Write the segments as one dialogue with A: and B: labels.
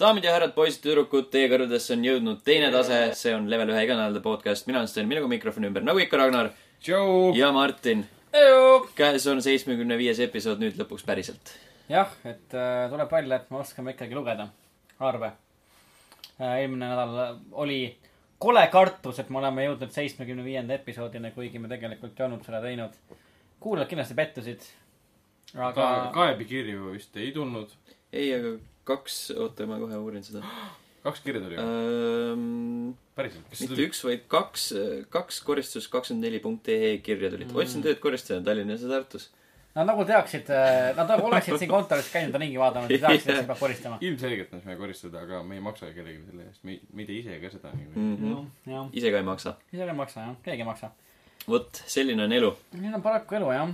A: daamid ja härrad , poisid , tüdrukud , teie kõrvadesse on jõudnud teine tase , see on level ühe iganädalane podcast , mina olen Sten , minuga mikrofoni ümber , nagu ikka , Ragnar
B: Joe .
A: ja Martin . käes on seitsmekümne viies episood nüüd lõpuks päriselt .
B: jah , et äh, tuleb välja , et me oskame ikkagi lugeda arve äh, . eelmine nädal oli kole kartus , et me oleme jõudnud seitsmekümne viienda episoodini , kuigi me tegelikult ei olnud seda teinud . kuulajad kindlasti pettusid . aga
C: Ka- , kaebekirju vist ei tulnud .
A: ei , aga kaks , oota , ma kohe uurin seda .
C: kaks kirja tuli või ?
A: Äh, mitte
C: päriselt , kas see tuli ?
A: üks , vaid kaks , kaks koristus kakskümmend neli punkt ee kirja tulid . otsin tööd koristajana Tallinnas ja Tartus .
B: nad nagu teaksid , nad nagu oleksid siin kontoris käinud ja ringi vaadanud ja teaksid , et siin peab koristama .
C: Ah, ilmselgelt me saame koristada , aga me ei maksa ju kellelegi selle eest , me , me ei tee ise ka seda niikuinii .
B: jah , jah ,
A: Mhm. ise ka ei maksa .
B: ise ei maksa jah , keegi ei maksa .
A: vot , selline on elu .
B: nii on paraku elu jah .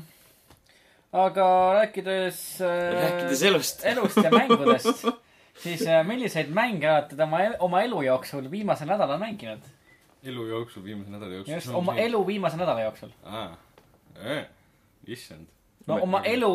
B: aga rääkides äh,
A: rääkides elust .
B: elust ja mängudest , siis äh, milliseid mänge olete te oma , oma elu jooksul viimasel nädalal mänginud ?
A: Mm.
C: elu jooksul , viimase nädala jooksul .
B: just , oma . elu viimase nädala jooksul .
C: Äh, issand .
B: no oma elu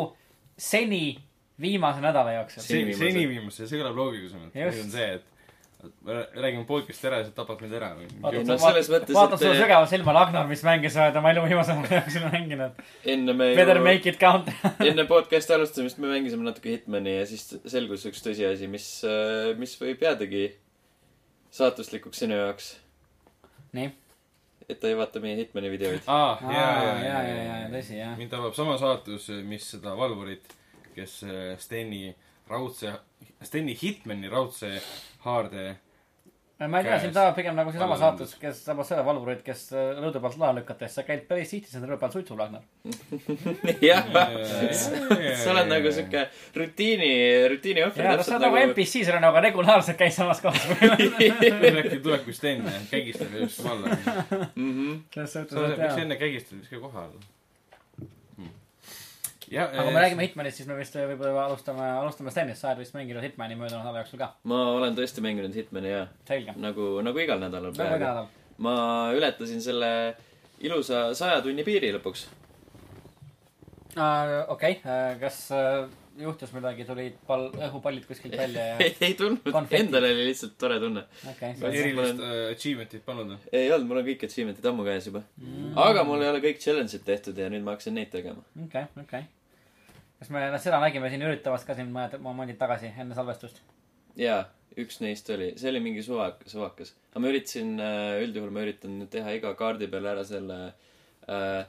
B: seni viimase nädala jooksul .
A: Seni
C: seni ,
A: viimase.
C: seni viimase , see kõlab loogilisemalt .
B: Just.
C: nüüd on see , et me räägime podcast'i ära ja sa tapad meid ära .
A: Ei, no selles mõttes,
B: vaatan
A: et- äh,
B: sulle sügava silma , Ragnar , mis mänge sa oled oma elu viimase nädala jooksul mänginud .
A: enne me
B: Better make it count .
A: enne podcast'i alustamist me mängisime natuke Hitmani ja siis selgus üks tõsiasi , mis , mis võib jäädagi saatuslikuks sinu jaoks .
B: nii .
A: et ta ei vaata meie Hitmani videoid .
C: aa ,
B: Aa,
C: Ah, jaa , jaa ,
B: jaa, jaa,
C: jaa , jaa
B: jaa, , tõsi, jaa.
C: mind tabab sama saatus , mis seda valvurit , kes äh, Steni raudse , Steni Hitmani raudse haarde
B: ma ei tea ,
C: Käes.
B: siin tahab pigem nagu seesama
C: Alla
B: saatus , kes tabas selle valvurit , kes äh, rõõdu pealt lae lükates , sa käid päris tihti selle rõõdu peal suitsul , Ragnar .
A: jah , sa
C: sa
A: oled nagu siuke rutiini , rutiini ohver
B: jaa , no sa oled nagu . NPC , sa oled nagu regulaarselt käid samas kohas .
C: äkki tuleb kui Sten kägistab ja just valla .
A: Mhm.
B: selles suhtes , et
C: miks
B: jaa
C: enne kägistab , miks ka kohal ? ja , eh,
B: aga kui me räägime Hitmanist , siis me vist võib-olla alustame , alustame Stenist , sa oled vist mänginud Hitmani möödunud nädala jooksul ka .
A: ma olen tõesti mänginud Hitmani ja
B: selge .
A: nagu , nagu igal nädalal
B: väga hea
A: peaaegu .
B: nädal .
A: ma ületasin selle ilusa saja tunni piiri lõpuks .
B: Äh, okei , kas äh, juhtus midagi , tulid pall , õhupallid kuskilt välja ja
A: ei , ei tulnud ,
B: Konfetti.
A: endal oli lihtsalt tore tunne .
B: okei
C: äh,
B: okay, .
C: erilist äh, achievement'it pannud või ?
A: ei olnud , mul on kõik achievement'id ammu käes juba mm. . aga mul ei ole kõik challenge'id tehtud ja nüüd ma hakkasin neid tegema .
B: okei , okei . kas me seda nägime siin üritavas ka siin mõned momendid tagasi enne salvestust ?
A: jaa , üks neist oli , see oli mingi suva , suvakas . aga ma üritasin , üldjuhul ma üritan nüüd teha iga kaardi peale ära selle äh,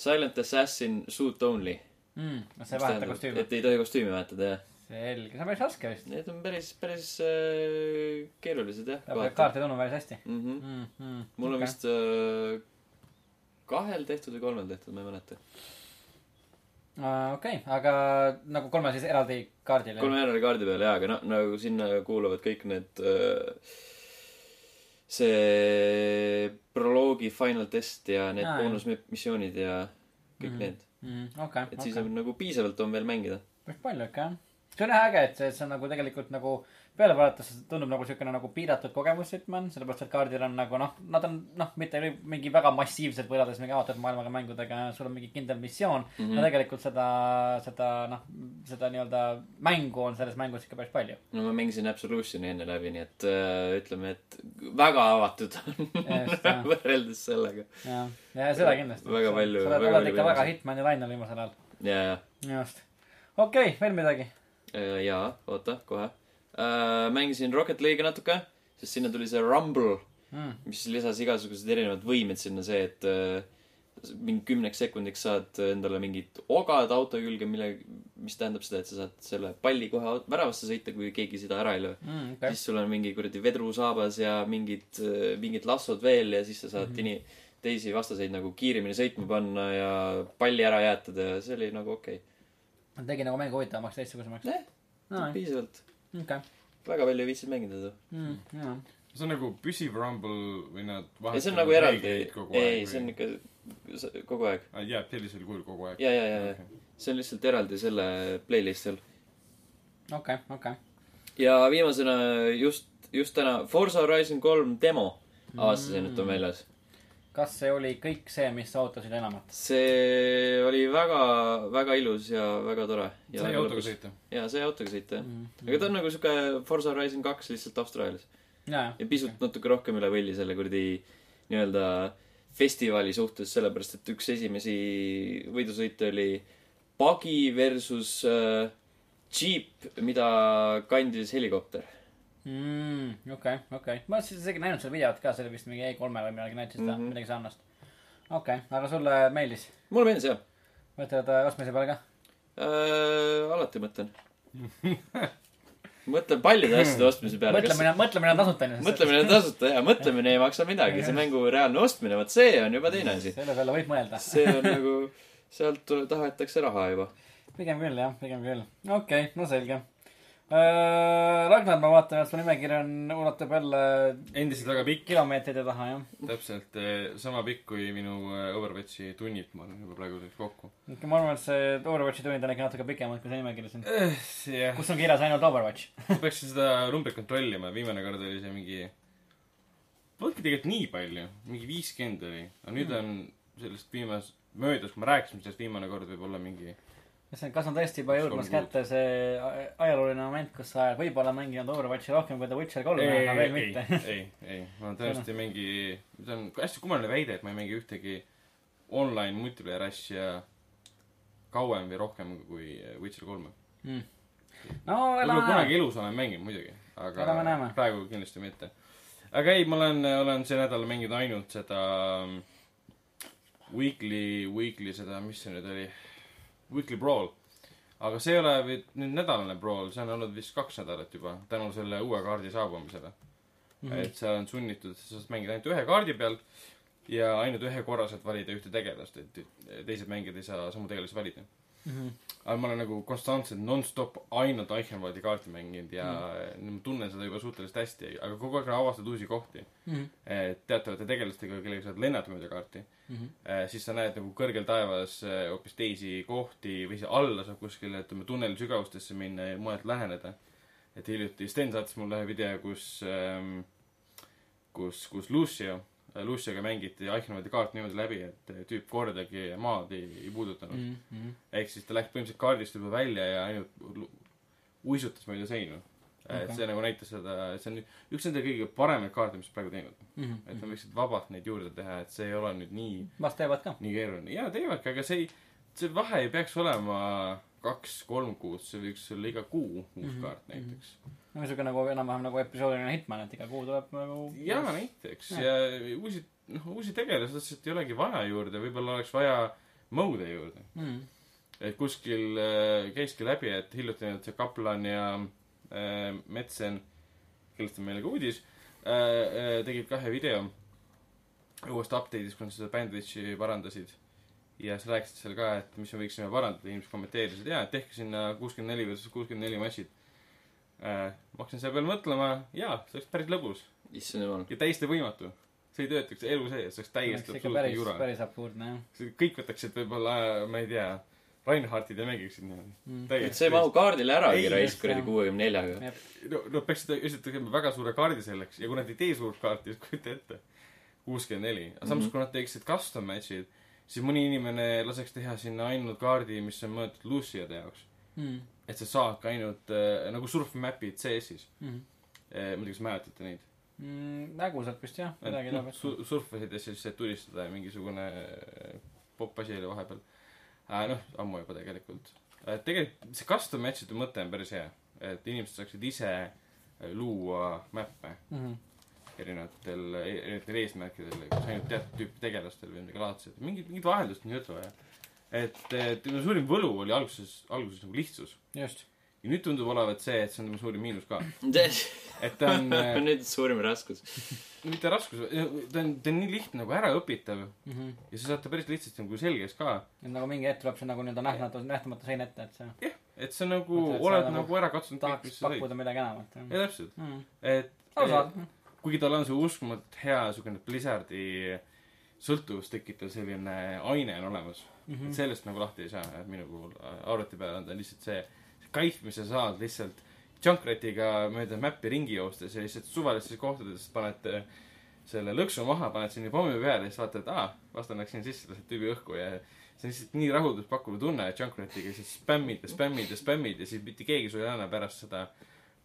A: Silent Assassin suit only .
B: Mm, no see ei vaheta kostüümi .
A: et ei tohi kostüümi vahetada , jah .
B: selge , see on päris raske vist .
A: Need on päris , päris äh, keerulised jah , kohati .
B: kaart ei tulnud päris hästi .
A: Mm -hmm. mul
B: mul
A: on okay. . vist äh, kahel tehtud või kolmel tehtud , ma ei mäleta .
B: Äh, okei , aga nagu kolmel siis eraldi kaardil ?
A: kolme järele kaardi peale jaa , aga noh , nagu sinna kuuluvad kõik need äh, see proloogi final test ja need
B: Aa, jah.
A: boonusmissioonid ja kõik
B: Mhm.
A: need .
B: okei ,
A: et
B: okei
A: siis . on nagu piisavalt on veel mängida .
B: päris palju ikka jah . see on jah äge , et see , see on nagu tegelikult nagu peale vaadates tundub nagu siukene nagu piiratud kogemus Hitman , sellepärast et kaardil on nagu noh , nad on noh , mitte nüüd mingi väga massiivselt võrreldes mingi avatud maailmaga mängudega , sul on mingi kindel missioon mm . -hmm. no tegelikult seda , seda noh , seda nii-öelda mängu on selles mängus ikka päris palju .
A: no ma mängisin Absolutioni enne läbi , nii et äh, ütleme , et väga avatud
B: Just,
A: on
B: jah.
A: võrreldes sellega .
B: ja , ja seda kindlasti .
A: Väga palju-
B: sa oled,
A: väga
B: oled
A: palju
B: ikka väga
A: võimalusi.
B: Hitmani lainel viimasel ajal .
A: ja , ja ,
B: just . okei okay, , veel midagi ?
A: ja oota , kohe äh, . mängisin Rocket League'i natuke , sest sinna tuli see Rumble
B: Mm.
A: mis lisas igasugused erinevad võimed sinna , see , et äh, mingi kümneks sekundiks saad endale mingid ogad auto külge , mille , mis tähendab seda , et sa saad selle palli kohe au- väravasse sõita , kui keegi seda ära ei löö .
B: Mm,
A: Okay.
B: okay.
A: siis sul on mingi kuradi vedru saabas ja mingid , mingid lassod veel ja siis sa saad mm -hmm. ini- , teisi vastaseid nagu kiiremini sõitma panna ja palli ära jäätada ja see oli nagu okei
B: tegi nagu mängu huvitavamaks , teistsugusemaks .
A: okay. .
B: okei
A: jah , Noh, piisavalt .
B: okay. ,
A: väga palju ei viitsinud mängida seda .
B: mm, jaa.
C: see on nagu püsiv rumble või nad
A: ei , see on nagu eraldi , ei , see on
C: ikka .
A: ikka sa- kogu aeg .
C: jääb Ah, sellisel kujul kogu aeg .
A: ja , ja , ja , ja . see on lihtsalt eraldi selle playlist'il .
B: okei , okei .
A: ja viimasena just , just täna Forza Horizon kolm demo avastasin mm. , et on väljas .
B: kas see oli kõik see , mis sa ootasid enamat ?
A: see oli väga , väga ilus ja väga tore .
C: sai autoga . sõita . Mm.
A: jaa , sai autoga sõita , jah . aga ta on nagu siuke Forza Horizon kaks lihtsalt Austraalias .
B: jajah .
A: ja pisut natuke rohkem üle võlli selle kuradi nii-öelda festivali suhtes , sellepärast et üks esimesi võidusõite oli pagi versus äh, džiip , mida kandis helikopter .
B: Mm, okei , okei . ma olen isegi näinud seda videot ka , see oli vist mingi E3-l või midagi näitasid seda mm ,
A: Mhm.
B: -hmm. midagi sarnast . okei okay, , aga sulle meeldis ?
A: mulle meeldis jah
B: mõtled äh, ostmise peale ka ?
A: äh, . alati mõtlen . mõtlen paljude asjade ostmise peale .
B: mõtlemine , mõtlemine on tasuta on ju .
A: mõtlemine on tasuta ja mõtlemine ei maksa midagi , see mängu reaalne ostmine , vot see on juba teine asi .
B: selle peale võib mõelda .
A: see on nagu , sealt tule- tahetakse raha juba .
B: pigem küll jah , pigem küll . okei okay, , no selge . Ragnar , ma vaatan , et su nimekiri on , ulatub jälle
C: endiselt väga pikk ,
B: kilomeetrite taha jah .
C: täpselt eh, sama pikk kui minu eh, Overwatchi tunnid , ma arvan juba praeguseks kokku .
B: ma arvan , et see Overwatchi tund on ikka natuke pikemalt kui see nimekiri siin .
C: jah ,
B: kus on kirjas ainult Overwatch .
C: ma peaksin seda numbrit kontrollima , viimane kord oli see mingi , polnudki tegelikult nii palju , mingi viiskümmend oli , aga nüüd on sellest viimas- , möödas , kui me rääkisime sellest viimane kord võib-olla mingi
B: kas on , kas on tõesti juba
C: Üks
B: jõudmas
C: kolm kuud.
B: kätte see a- ajalooline moment , kus sa oled võib-olla mänginud Overwatchi rohkem kui The Witcher kolme ,
C: ei ,
B: aga veel
C: ei ,
B: mitte ?
C: ei , ei , ma tõenäoliselt ei mängi , see on hästi kummaline väide , et ma ei mängi ühtegi online multiplayer asja kauem või rohkem kui Witcher kolme .
B: no
C: võib-olla
B: elame
C: kunagi
B: näeme .
C: elus olen mänginud muidugi ,
B: Elame,
C: aga
B: näeme.
C: praegu kindlasti mitte . aga ei , ma olen , olen see nädal mänginud ainult seda mm, Weekly , Weekly seda , mis see nüüd oli , Weekly Brawl . aga see ei ole vi- nüüd nädalane Brawl , see on olnud vist kaks nädalat juba tänu selle uue kaardi saabumisele
B: Mhm,
C: mm . -hmm. et seal on sunnitud , sa saad mängida ainult ühe kaardi peal ja ainult ühe korra saad valida ühte tegelast , et teised mängijad ei saa samu tegelasi valida .
B: mhm,
C: aga ma olen nagu konstantselt nonstop ainult Eichenwaldi kaarti mänginud ja mm. ma tunnen seda juba suhteliselt hästi , aga kogu aeg avastad uusi kohti
B: mhm,
C: eh, teatavate tegelastega , kellega sa oled lennanud mööda kaarti
B: mhm,
C: Eh, siis sa näed nagu kõrgel taevas eh, hoopis teisi kohti või siis alla saab kuskile , ütleme , tunneli sügavustesse minna ja mujalt läheneda . et hiljuti Sten saatis mulle ühe video , kus ähm, , kus , kus Lucio , Lucioga mängiti Eichenwaldi kaart niimoodi läbi , et tüüp kordagi maad ei, ei puudutanud .
B: mhm,
C: ehk siis ta läks põhimõtteliselt kaardist juba välja ja ainult lu- uisutas mööda seinu . et
B: Okei.
C: see nagu näitas seda , et see on üks nende kõige paremaid kaarte , mis praegu teinud . et nad võiksid vabalt neid juurde teha , et see ei ole nüüd nii
B: mhm, vast teevad ka .
C: nii keeruline . jaa , teevadki , aga see ei , see vahe ei peaks olema kaks-kolm kuud , see võiks olla iga kuu uus mm -hmm. kaart näiteks .
B: niisugune nagu enam-vähem nagu episoodiline Hitman , et iga kuu tuleb nagu .
C: jaa , näiteks
B: Jah.
C: ja, ja uusi , noh , uusi tegelasi lihtsalt ei olegi vaja juurde , võib-olla oleks vaja mõude juurde .
B: mhm.
C: et kuskil äh, käiski läbi , et hiljuti nüüd see kaplan ja äh, Metsen , kellest on meile ka uudis äh, , äh, tegid kahe video uuest update'ist , kui nad seda bandwich'i parandasid . ja siis rääkisid seal ka , et mis me võiksime parandada , inimesed kommenteerisid , jaa , et tehke sinna kuuskümmend neli versus kuuskümmend neli massid äh, . ma hakkasin selle peale mõtlema , jaa , see oleks päris lõbus
A: issand jumal .
C: ja täiesti võimatu . see ei töötaks elu sees , see oleks täiesti
B: ikka
C: absoluutne
B: päris ,
C: jura .
B: päris absurdne jah .
C: See- kõik võtaksid võib-olla , ma ei tea , Reinhardid ja mängiksid niimoodi
B: Mm.
A: et see ei mahu . kaardile
C: Ei,
A: äragi
B: just,
A: raisk kuradi
B: jah.
A: kuuekümne neljaga .
C: no , no peaksid esitama väga suure kaardi selleks ja kui nad ei tee suurt kaarti , siis kujuta ette . kuuskümmend neli . aga samas mm ,
A: Mhm.
C: -hmm. kui nad teeksid custom match'id , siis mõni inimene laseks teha sinna ainult kaardi , mis on mõeldud Luciade jaoks .
B: mhm,
C: et sa saadki ainult äh, nagu surfmap'id CS-is
B: mhm.
C: äh, . muidugi , kas mäletate neid ?
B: näguselt Mm, vist jah , midagi
C: noh ,
B: tuleb .
C: su- , surfasid ja siis said tulistada ja mingisugune äh, popp asi oli vahepeal äh, . noh , ammu juba tegelikult äh, . tegelikult see custom match'ide mõte on päris hea , et inimesed saaksid ise äh, luua mäppe
B: Mhm,
C: erinevatel , erinevatel eesmärkidel , kas ainult teatud tüüpi tegelastel või midagi laadset , mingit , mingit vaheldust on juttu vaja . et , et tema suurim võlu oli alguses , alguses nagu lihtsus .
B: just .
C: ja nüüd tundub olevat see , et see on tema suurim miinus ka .
A: see
C: et ta on äh,
A: on , nüüd suurim raskus .
C: mitte raskus , ta on , ta on nii lihtne nagu äraõpitav
B: et
C: ja sa saad ta päris lihtsasti nagu selgeks ka .
B: Mhm. nagu mingi hetk tuleb see nagu nii-öelda nähtamatu , nähtamatu sein ette , et sa
C: jah , et sa nagu
B: Mõtled, et sa
C: oled
B: nagu
C: nagu ära katsunud kõik ,
B: tahaks
C: mis sa said .
B: pakkuda midagi enamat jah .
C: jaa , täpselt .
B: Mm.
C: et
B: arusaadav .
C: et kuigi tal on see uskumatult hea niisugune Blizzardi sõltuvust tekitav selline aine on olemas mm . -hmm. et sellest nagu lahti ei saa , et minu puhul äh, arvuti peal on ta lihtsalt see, see kaif , mis sa saad lihtsalt Junkratiga mööda mäppi ringi joostes ja lihtsalt suvalistes kohtades paned äh, selle lõksu maha , paned sinna pommi peale ja siis vaatad , aa , vastane läks sinna sisse , lased tüübi õhku ja see on lihtsalt nii rahulduspakkuv tunne , et Junkrat'iga siis spämmid ja spämmid ja spämmid ja siis mitte keegi sulle ei anna pärast seda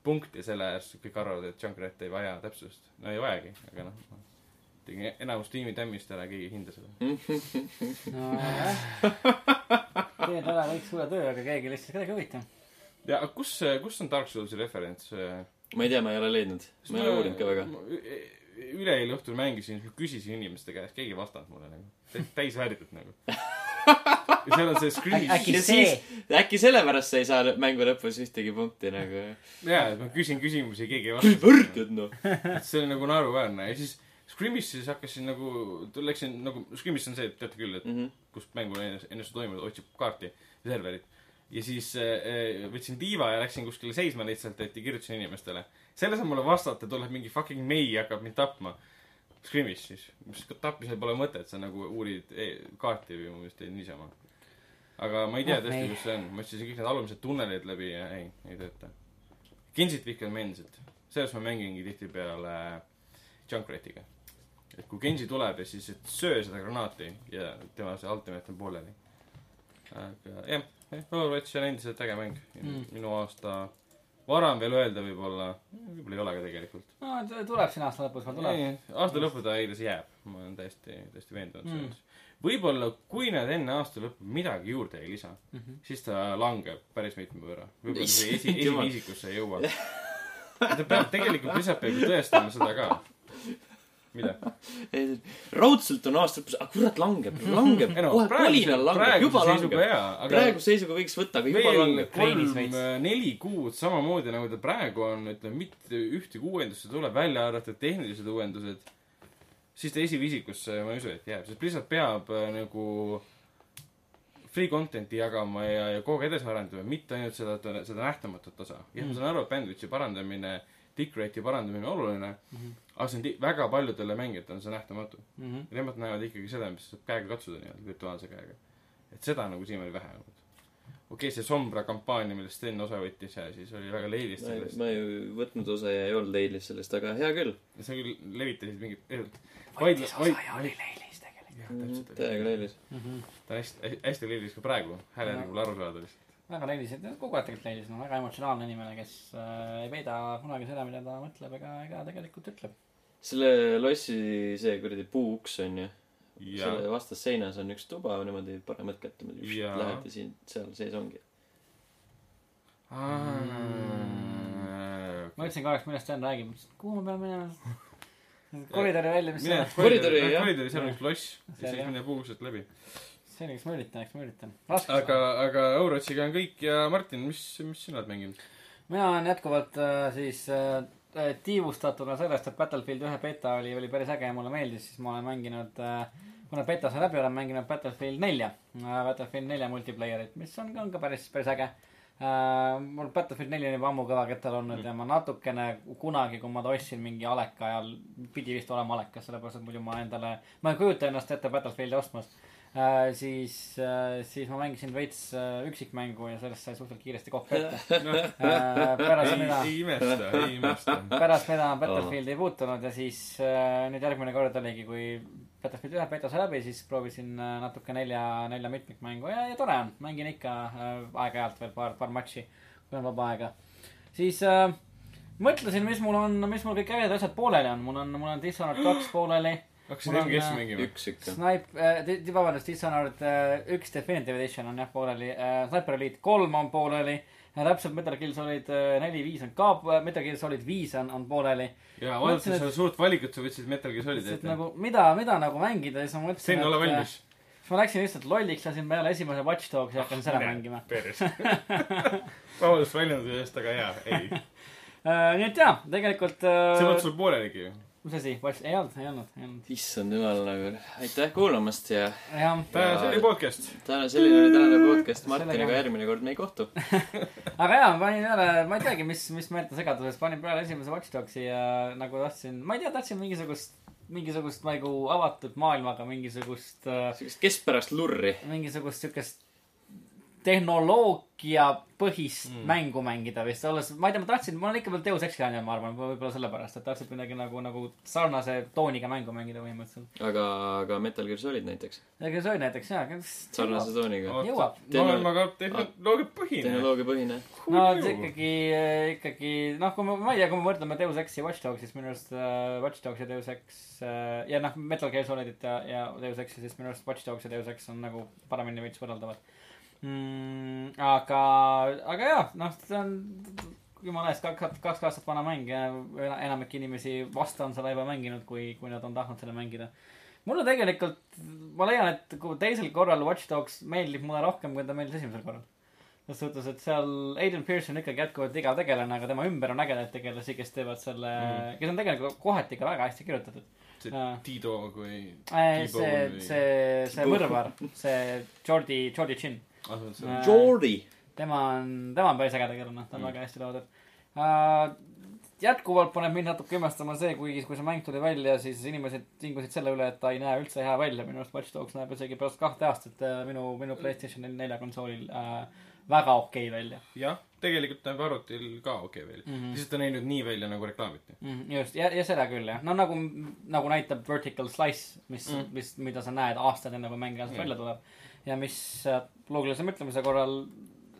C: punkti selle ääres , kõik arvavad , et Junkrat ei vaja täpsust . no ei vajagi , aga noh , tegin enamus tiimi tämmist ära , keegi ei hinda seda .
B: nojah . teed ära kõik suure töö , aga keegi lihtsalt kedagi ei huvita .
C: ja aga kus , kus on Dark Soulsi referents ?
A: ma ei tea , ma ei ole leidnud . ma ei ole uurinud ka väga ..
C: e, üleeile õhtul mängisin , siis ma küsisin inimeste käest , keegi ei vastanud mulle nagu . täis värdjat nagu . ja seal on see screen .
B: äkki
A: ja
B: see
A: siis , äkki sellepärast sa ei saa mängu lõpus ühtegi punkti nagu .
C: jaa , et ma küsin küsimusi ja keegi ei
A: kui
C: vasta .
A: võrdled noh .
C: see oli nagu naeruväärne ja siis Screamis siis hakkasin nagu , läksin nagu , Screamis on see , et teate küll , et kus mängul ennast , ennast toimub , otsib kaarti , serverit . ja siis äh, äh, võtsin tiiva ja läksin kuskile seisma lihtsalt , et ja kirjutasin inimestele . selles on mulle vastata , tuleb mingi fucking mei ja hakkab mind tapma . Screamis siis , mis tapmisel pole mõtet , sa nagu uurid eh, kaarti või minu meelest eh, niisama . aga ma ei tea
B: Ah,
C: tõesti
B: ei. ,
C: kus see on , ma otsisin kõik need alumised tunnelid läbi ja ei , ei tööta . Gensit vihkan ma endiselt , selles ma mängingi tihtipeale Junkratiga . et kui Genji tuleb ja siis , et söö seda granaati ja tema see ultimate on pooleli . aga jah , Overwatch on endiselt äge mäng
B: Mm.
C: mm. . minu aasta varem veel öelda võib-olla , võib-olla ei ole ka tegelikult .
B: no ta tuleb siin aasta lõpus , veel tuleb .
C: aasta lõppu ta igatahes jääb , ma olen täiesti , täiesti veendunud
B: Mm.
C: selles mm. . võib-olla kui nad enne aasta lõppu midagi juurde ei lisa , siis ta langeb päris mitme võrra . võib-olla
A: Mhm.
C: see esi ,
A: Issand jumal.
C: esiviisikusse ei jõua . ta peab tegelikult lihtsalt peab ju tõestama seda ka . mida ?
A: raudselt on aasta lõpus , aga kurat langeb , langeb ,
C: ei no
A: kohe
C: praeguse ,
A: kolinal langeb ,
C: praeguse
A: juba
C: seisuga
A: langeb .
C: jaa , aga
A: praeguse seisuga võiks võtta , aga juba
C: veel
A: langeb .
B: Kreeni
C: kolm äh,
B: Šveits. ,
C: neli kuud samamoodi nagu ta praegu on , ütleme , mitte ühtegi uuendust ei tule , välja arvatud tehnilised uuendused . siis ta esiviisikusse , ma ei usu , et jääb , sest lihtsalt peab äh, nagu free content'i jagama ja , ja kogu aeg edasi arendama , mitte ainult seda , seda nähtamatut osa . jah ,
A: Mhm.
C: ma saan aru , et bandwidth'i parandamine , tick rate'i parandamine on oluline mm ,
B: Mhm.
C: -hmm. aga see on ti- väga paljudele mängijatele on see nähtamatu . nemad näevad ikkagi seda , mis saab käega katsuda nii-öelda , virtuaalse käega . et seda nagu siin oli vähe olnud . okei okay, , see Sombra kampaania , millest Sten osa võttis ja siis oli väga leidis sellest .
A: ma ei võtnud osa ja ei olnud eilis sellest , aga hea küll .
C: sa küll levitasid mingit , vaidle , vaidle ,
B: leilis tegelikult .
C: jah , täpselt .
A: täiega leilis .
B: Mhm.
C: ta on hästi , hästi leidis ka praegu , hääle nagu
B: Jah.
C: on võib-olla arusaadav lihtsalt .
B: väga leilis , et kogu aeg tegelikult leilis , no väga emotsionaalne inimene , kes äh, ei peida kunagi seda , mida ta mõtleb ega , ega tegelikult ütleb .
A: selle lossi see kuradi puuuks on ju .
C: ja
A: selle vastas seinas on üks tuba niimoodi paremat kätt niimoodi
C: Jaa.
A: lähed ja siin seal sees ongi .
C: Aa,
B: ma
C: okei.
B: ütlesin korraks , millest Sten räägib , kuhu me peame minema . koridori välja , mis
C: mine
B: see ,
C: koridori ,
A: jah.
C: koridori , seal on üks loss ja
B: Seal,
C: siis
B: jah.
C: mine puuksed läbi .
B: see oli , eks ma üritan , eks ma üritan . raske
C: aga , aga Eurotsiga on kõik ja Martin , mis , mis sina oled mänginud ?
B: mina olen jätkuvalt äh, siis äh, äh, tiivustatuna sellest , et Battlefield ühe beta oli , oli päris äge ja mulle meeldis , siis ma olen mänginud äh, , kuna beta sai läbi , olen mänginud Battlefield nelja äh, , Battlefield nelja multiplayerit , mis on , on ka päris , päris äge äh, . mul Battlefield neli on juba ammu kõva kettal olnud mm. ja ma natukene kunagi , kui ma tossin mingi aleka ajal , pidi vist olema alekas , sellepärast et muidu ma endale , ma ei kujuta ennast ette Battlefieldi ostmas . Äh, siis äh, , siis ma mängisin veits äh, üksikmängu ja sellest sai suhteliselt kiiresti kokku ette
C: noh ,
B: äh, . pärast
C: ei ,
B: seda ,
C: ei imesta , ei imesta .
B: pärast seda ma Battlefieldi ei puutunud ja siis äh, nüüd järgmine kord oligi , kui Battlefield ühe beta sai läbi , siis proovisin äh, natuke nelja , nelja mitmikmängu ja , ja tore on , mängin ikka äh, aeg-ajalt veel paar , paar matši , kui on vaba aega . siis äh, mõtlesin , mis mul on , mis mul kõik ägedad asjad pooleli on , mul on , mul on Dishonored kaks pooleli ,
C: hakkasid
B: Mul on,
C: MGS-i
B: äh,
C: mängima .
A: üks ikka .
B: Snipe äh, , vabandust , Dishonored äh, üks Definitive Edition on jah pooleli äh, , Sniper Elite kolm on pooleli , täpselt Metal Gear Solid äh, neli , viis on ka , Metal Gear Solid viis on , on pooleli .
C: ja
B: mõtlesin,
C: vaadates
B: et-
C: seda suurt valikut , sa võtsid Metal Gear Solid
B: et
C: ette .
B: nagu mida , mida nagu mängida ja siis ma mõtlesin ,
C: Sten , ole valmis .
B: siis ma läksin lihtsalt lolliks , lasin peale esimese Watch Dogsi ja hakkan
C: Ah,
B: seda mängima .
C: peres . vabandust väljenduse eest , aga jaa , ei .
B: Äh, nii et jaa , tegelikult
C: see
B: äh,
C: polnud , sul pooleligi ju .
B: mis asi , Watch , ei olnud , ei olnud , ei olnud ,
A: issand jumal nagu , aitäh kuulamast ja
B: jah
C: täna , see oli podcast .
A: täna , selline oli tänane podcast
B: Sellega-
A: Martiniga , järgmine kord me ei kohtu .
B: aga jaa , ma panin peale , ma ei teagi , mis , mis meelte segaduses , panin peale esimese Watch Dogsi ja nagu tahtsin , ma ei tea , tahtsin mingisugust , mingisugust nagu avatud maailmaga mingisugust , äh,
A: siukest keskpärast lurri .
B: mingisugust siukest tehnoloogiapõhist mm. mängu mängida vist , olles , ma ei tea , ma tahtsin , ma olen ikka veel Deus Exi fänn , ma arvan , võib-olla sellepärast , et tahtsin midagi nagu , nagu sarnase tooniga mängu mängida põhimõtteliselt .
A: aga , aga Metal Gear Solid näiteks ,
B: aga see oli näiteks jaa .
A: sarnase tooniga .
B: jõuab.
C: maailm aga tehnoloogiapõhine .
A: tehnoloogiapõhine .
B: no see ikkagi , ikkagi noh , kui ma , ma ei tea , kui me võrdleme Deus Exi ja Watch Dogsi , siis minu arust äh, Watch Dogs ja Deus Ex äh, ja noh , Metal Gear Solidit ja , ja Deus Exi , siis minu arust Watch Dogs ja Deus Ex on nagu paremini veits võrreldavad mm, . aga , aga jaa , noh , see on jumala eest kaks , kaks aastat vana mäng ja ena- enamik inimesi vast on seda juba mänginud , kui , kui nad on tahtnud seda mängida . mulle tegelikult , ma leian , et kui teisel korral Watch Dogs meeldib mulle rohkem , kui ta meeldis esimesel korral . selles suhtes , et seal Aiden Pierce on ikkagi jätkuvalt igav tegelane , aga tema ümber on ägedaid tegelasi , kes teevad selle mm. , kes on tegelikult kohati ikka väga hästi kirjutatud .
C: see
B: jaa.
C: Tiido kui .
B: see , see , see mõrvar , see Jordi , Jordi Chin .
C: see .
A: Jordi .
B: tema on , tema on päris äge tegelane , ta on mm. väga hästi loodud uh, . jätkuvalt paneb mind natuke imestama see , kui , kui see mäng tuli välja , siis inimesed tingusid selle üle , et ta ei näe üldse hea välja , minu arust Watch Dogs näeb isegi pärast kahte aastat uh, minu , minu Playstation nelja konsoolil uh, väga okei okay välja
C: jah , tegelikult näeb arvutil ka okei okay välja mm .
B: Mhm.
C: -hmm. lihtsalt ta näinud nii välja nagu reklaamiti .
B: mm, . just , ja , ja seda küll jah , no nagu , nagu näitab Vertical Slice , mis mm.
C: Mm. ,
B: mis , mida sa näed aastaid enne , kui mäng reaalselt
C: Mm.
B: välja tuleb . ja mis äh, loogilise mõtlemise korral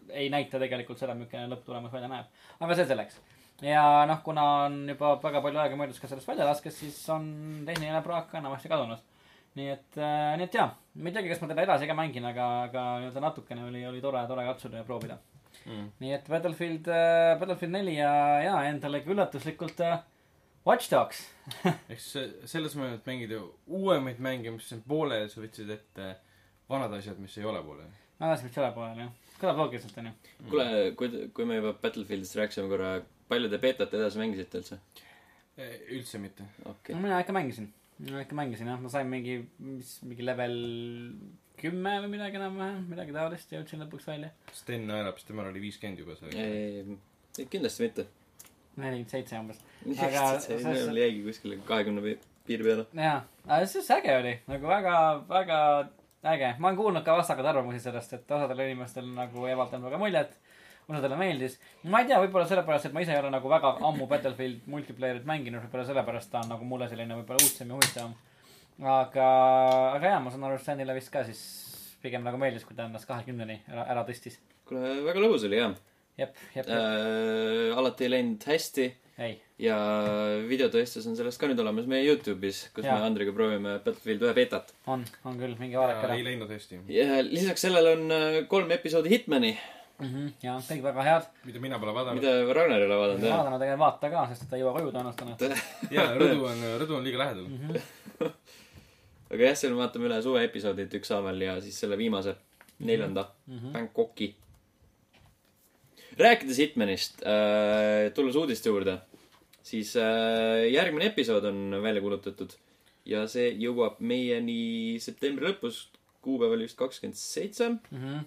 B: ei näita tegelikult seda , milline lõpptulemus välja näeb . aga see selleks . ja noh , kuna on juba väga palju aega möödas ka sellest väljalaskest , siis on tehniline praak ka enamasti kadunud . nii et äh, , nii et jaa , ma ei teagi , kas ma teda edasi ka mängin , aga , aga nii-öelda natukene oli , oli tore , tore katsuda ja proovida .
C: Mhm.
B: nii et Battlefield , Battlefield neli ja , ja endale ka üllatuslikult äh, Watch Dogs
C: ehk siis see- selles mõttes , et mängida uuemaid mänge , mis on pooleli , sa võtsid ette vanad asjad , mis ei ole pooleli .
B: ma tahtsin , et selle poolel jah , kõlab loogiliselt onju .
A: kuule , kui , kui me juba Battlefieldist rääkisime korra , palju te beetat edasi mängisite üldse ?
C: üldse mitte .
A: okei
B: no . mina ikka mängisin , mina ikka mängisin jah , ma sain mingi , mis mingi level kümme või midagi enam-vähem , midagi taolist ja jõudsin lõpuks välja .
C: Sten naerab , sest temal oli viiskümmend juba see .
A: ei , kindlasti mitte .
B: nelikümmend seitse umbes . Aga
A: see
B: selles-
A: mul jäigi kuskile kahekümne pi- piiri peale .
B: jaa , aga see , see äge oli , nagu väga , väga äge , ma olen kuulnud ka vastakaid arvamusi sellest , et osadel inimestel nagu ei avaldanud väga muljet , osadele meeldis . ma ei tea , võib-olla sellepärast , et ma ise ei ole nagu väga ammu Battlefield multiplayer'it mänginud , võib-olla sellepärast ta on nagu mulle selline võib-olla uudsem ja huvitavam . aga , aga jaa , ma saan aru , et Stanile vist ka siis pigem nagu meeldis , kui ta ennast kahekümneni ära , ära tõstis .
A: kuule , väga lõbus oli jah
B: jep , jep , jep ,
A: äh, . alati ei läinud hästi
B: ei ,
A: ja videotõestus on sellest ka nüüd olemas meie Youtube'is , kus
B: Jaa.
A: me Andriga proovime Battlefield ühe beetat .
B: on , on küll , minge vaadake ära
C: ei . läinud hästi .
A: ja lisaks sellele on äh, kolm episoodi Hitmani ,
B: Mhm, jaa , kõik väga head .
C: mida mina pole vaadanud .
A: mida Ragnar ei ole vaadanud jah .
B: vaadanud , aga vaata ka , sest et ta ei jõua koju tõenäoliselt täna .
C: jaa , rõdu on , rõdu on liiga lähedal .
A: Mhm. aga jah , seal me vaatame üle suveepisoodid ükshaaval ja siis selle viimase , neljanda mm , -hmm. Bangkoki . rääkides Hitmanist äh, , tulles uudiste juurde , siis äh, järgmine episood on välja kuulutatud ja see jõuab meieni septembri lõpus , kuupäev oli vist kakskümmend seitse .
B: Mhm.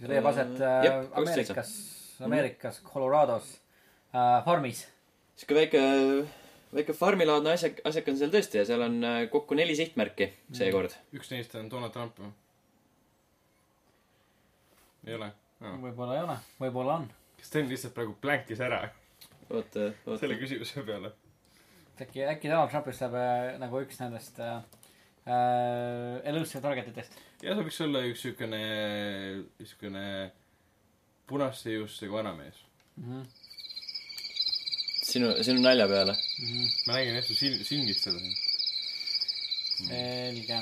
B: see leiab aset
A: Äh,
B: äh,
A: jep, kaksteist
B: Ameerikas , Ameerikas , Colorados äh, , farmis .
A: sihuke väike , väike farmilaadne asjak , asjak on seal tõesti ja seal on äh, kokku neli sihtmärki seekord .
C: üks neist on Donald Trump või ? ei ole ?
B: võib-olla ei ole , võib-olla on .
C: Sten lihtsalt praegu blankis ära
A: oota , oota
C: selle . küsimuse peale .
B: äkki , äkki Donald Trumpist saab äh, nagu üks nendest äh, äh, elusive targetitest .
C: ja see võiks olla üks siukene , siukene punaste juustega vanamees .
A: sinu , sinu nalja peale .
C: ma nägin jah , su sil- , silmist seda .
B: selge .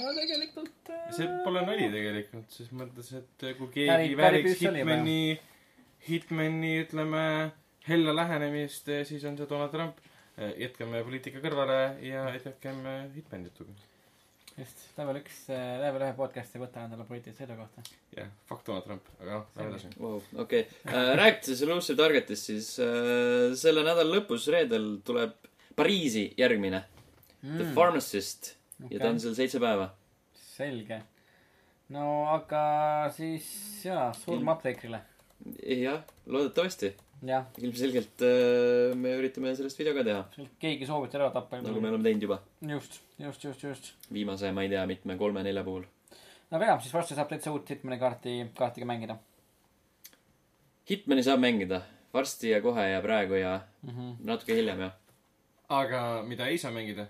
B: aga tegelikult äh,
C: see pole nali tegelikult , ses mõttes , et kui
B: Päri-
C: keegi
B: päripüüs
C: vääriks
B: oli juba,
C: Hitmani , Hitmani , ütleme , hella lähenemist , siis on see Donald Trump . jätkame poliitika kõrvale ja jätkakem Hitmani jutuga .
B: just , level üks , level ühe podcast'i ei võta endale poliitilise seisukohta .
C: jah , fuck Donald Trump , aga noh , lähme edasi .
A: Vau , okei . rääkides Elusive Targetist , siis äh, selle nädala lõpus , reedel tuleb Pariisi järgmine mm. , The Pharmacist okay. ja ta on seal seitse päeva .
B: selge . no aga siis jaa , surm apteekrile .
A: jah , loodetavasti .
B: jah ,
A: ilmselgelt äh, me üritame sellest video ka teha ,
B: keegi soovib teda ära tappa .
A: nagu me oleme teinud juba
B: just , just , just , just .
A: viimase , ma ei tea , mitme kolme-nelja puhul .
B: aga jaa , siis varsti saab täitsa uut Hitmani kaarti , kaartiga mängida
A: Hitmani saab mängida varsti ja kohe ja praegu ja
B: mm . -hmm.
A: natuke hiljem ja .
C: aga mida ei saa mängida ?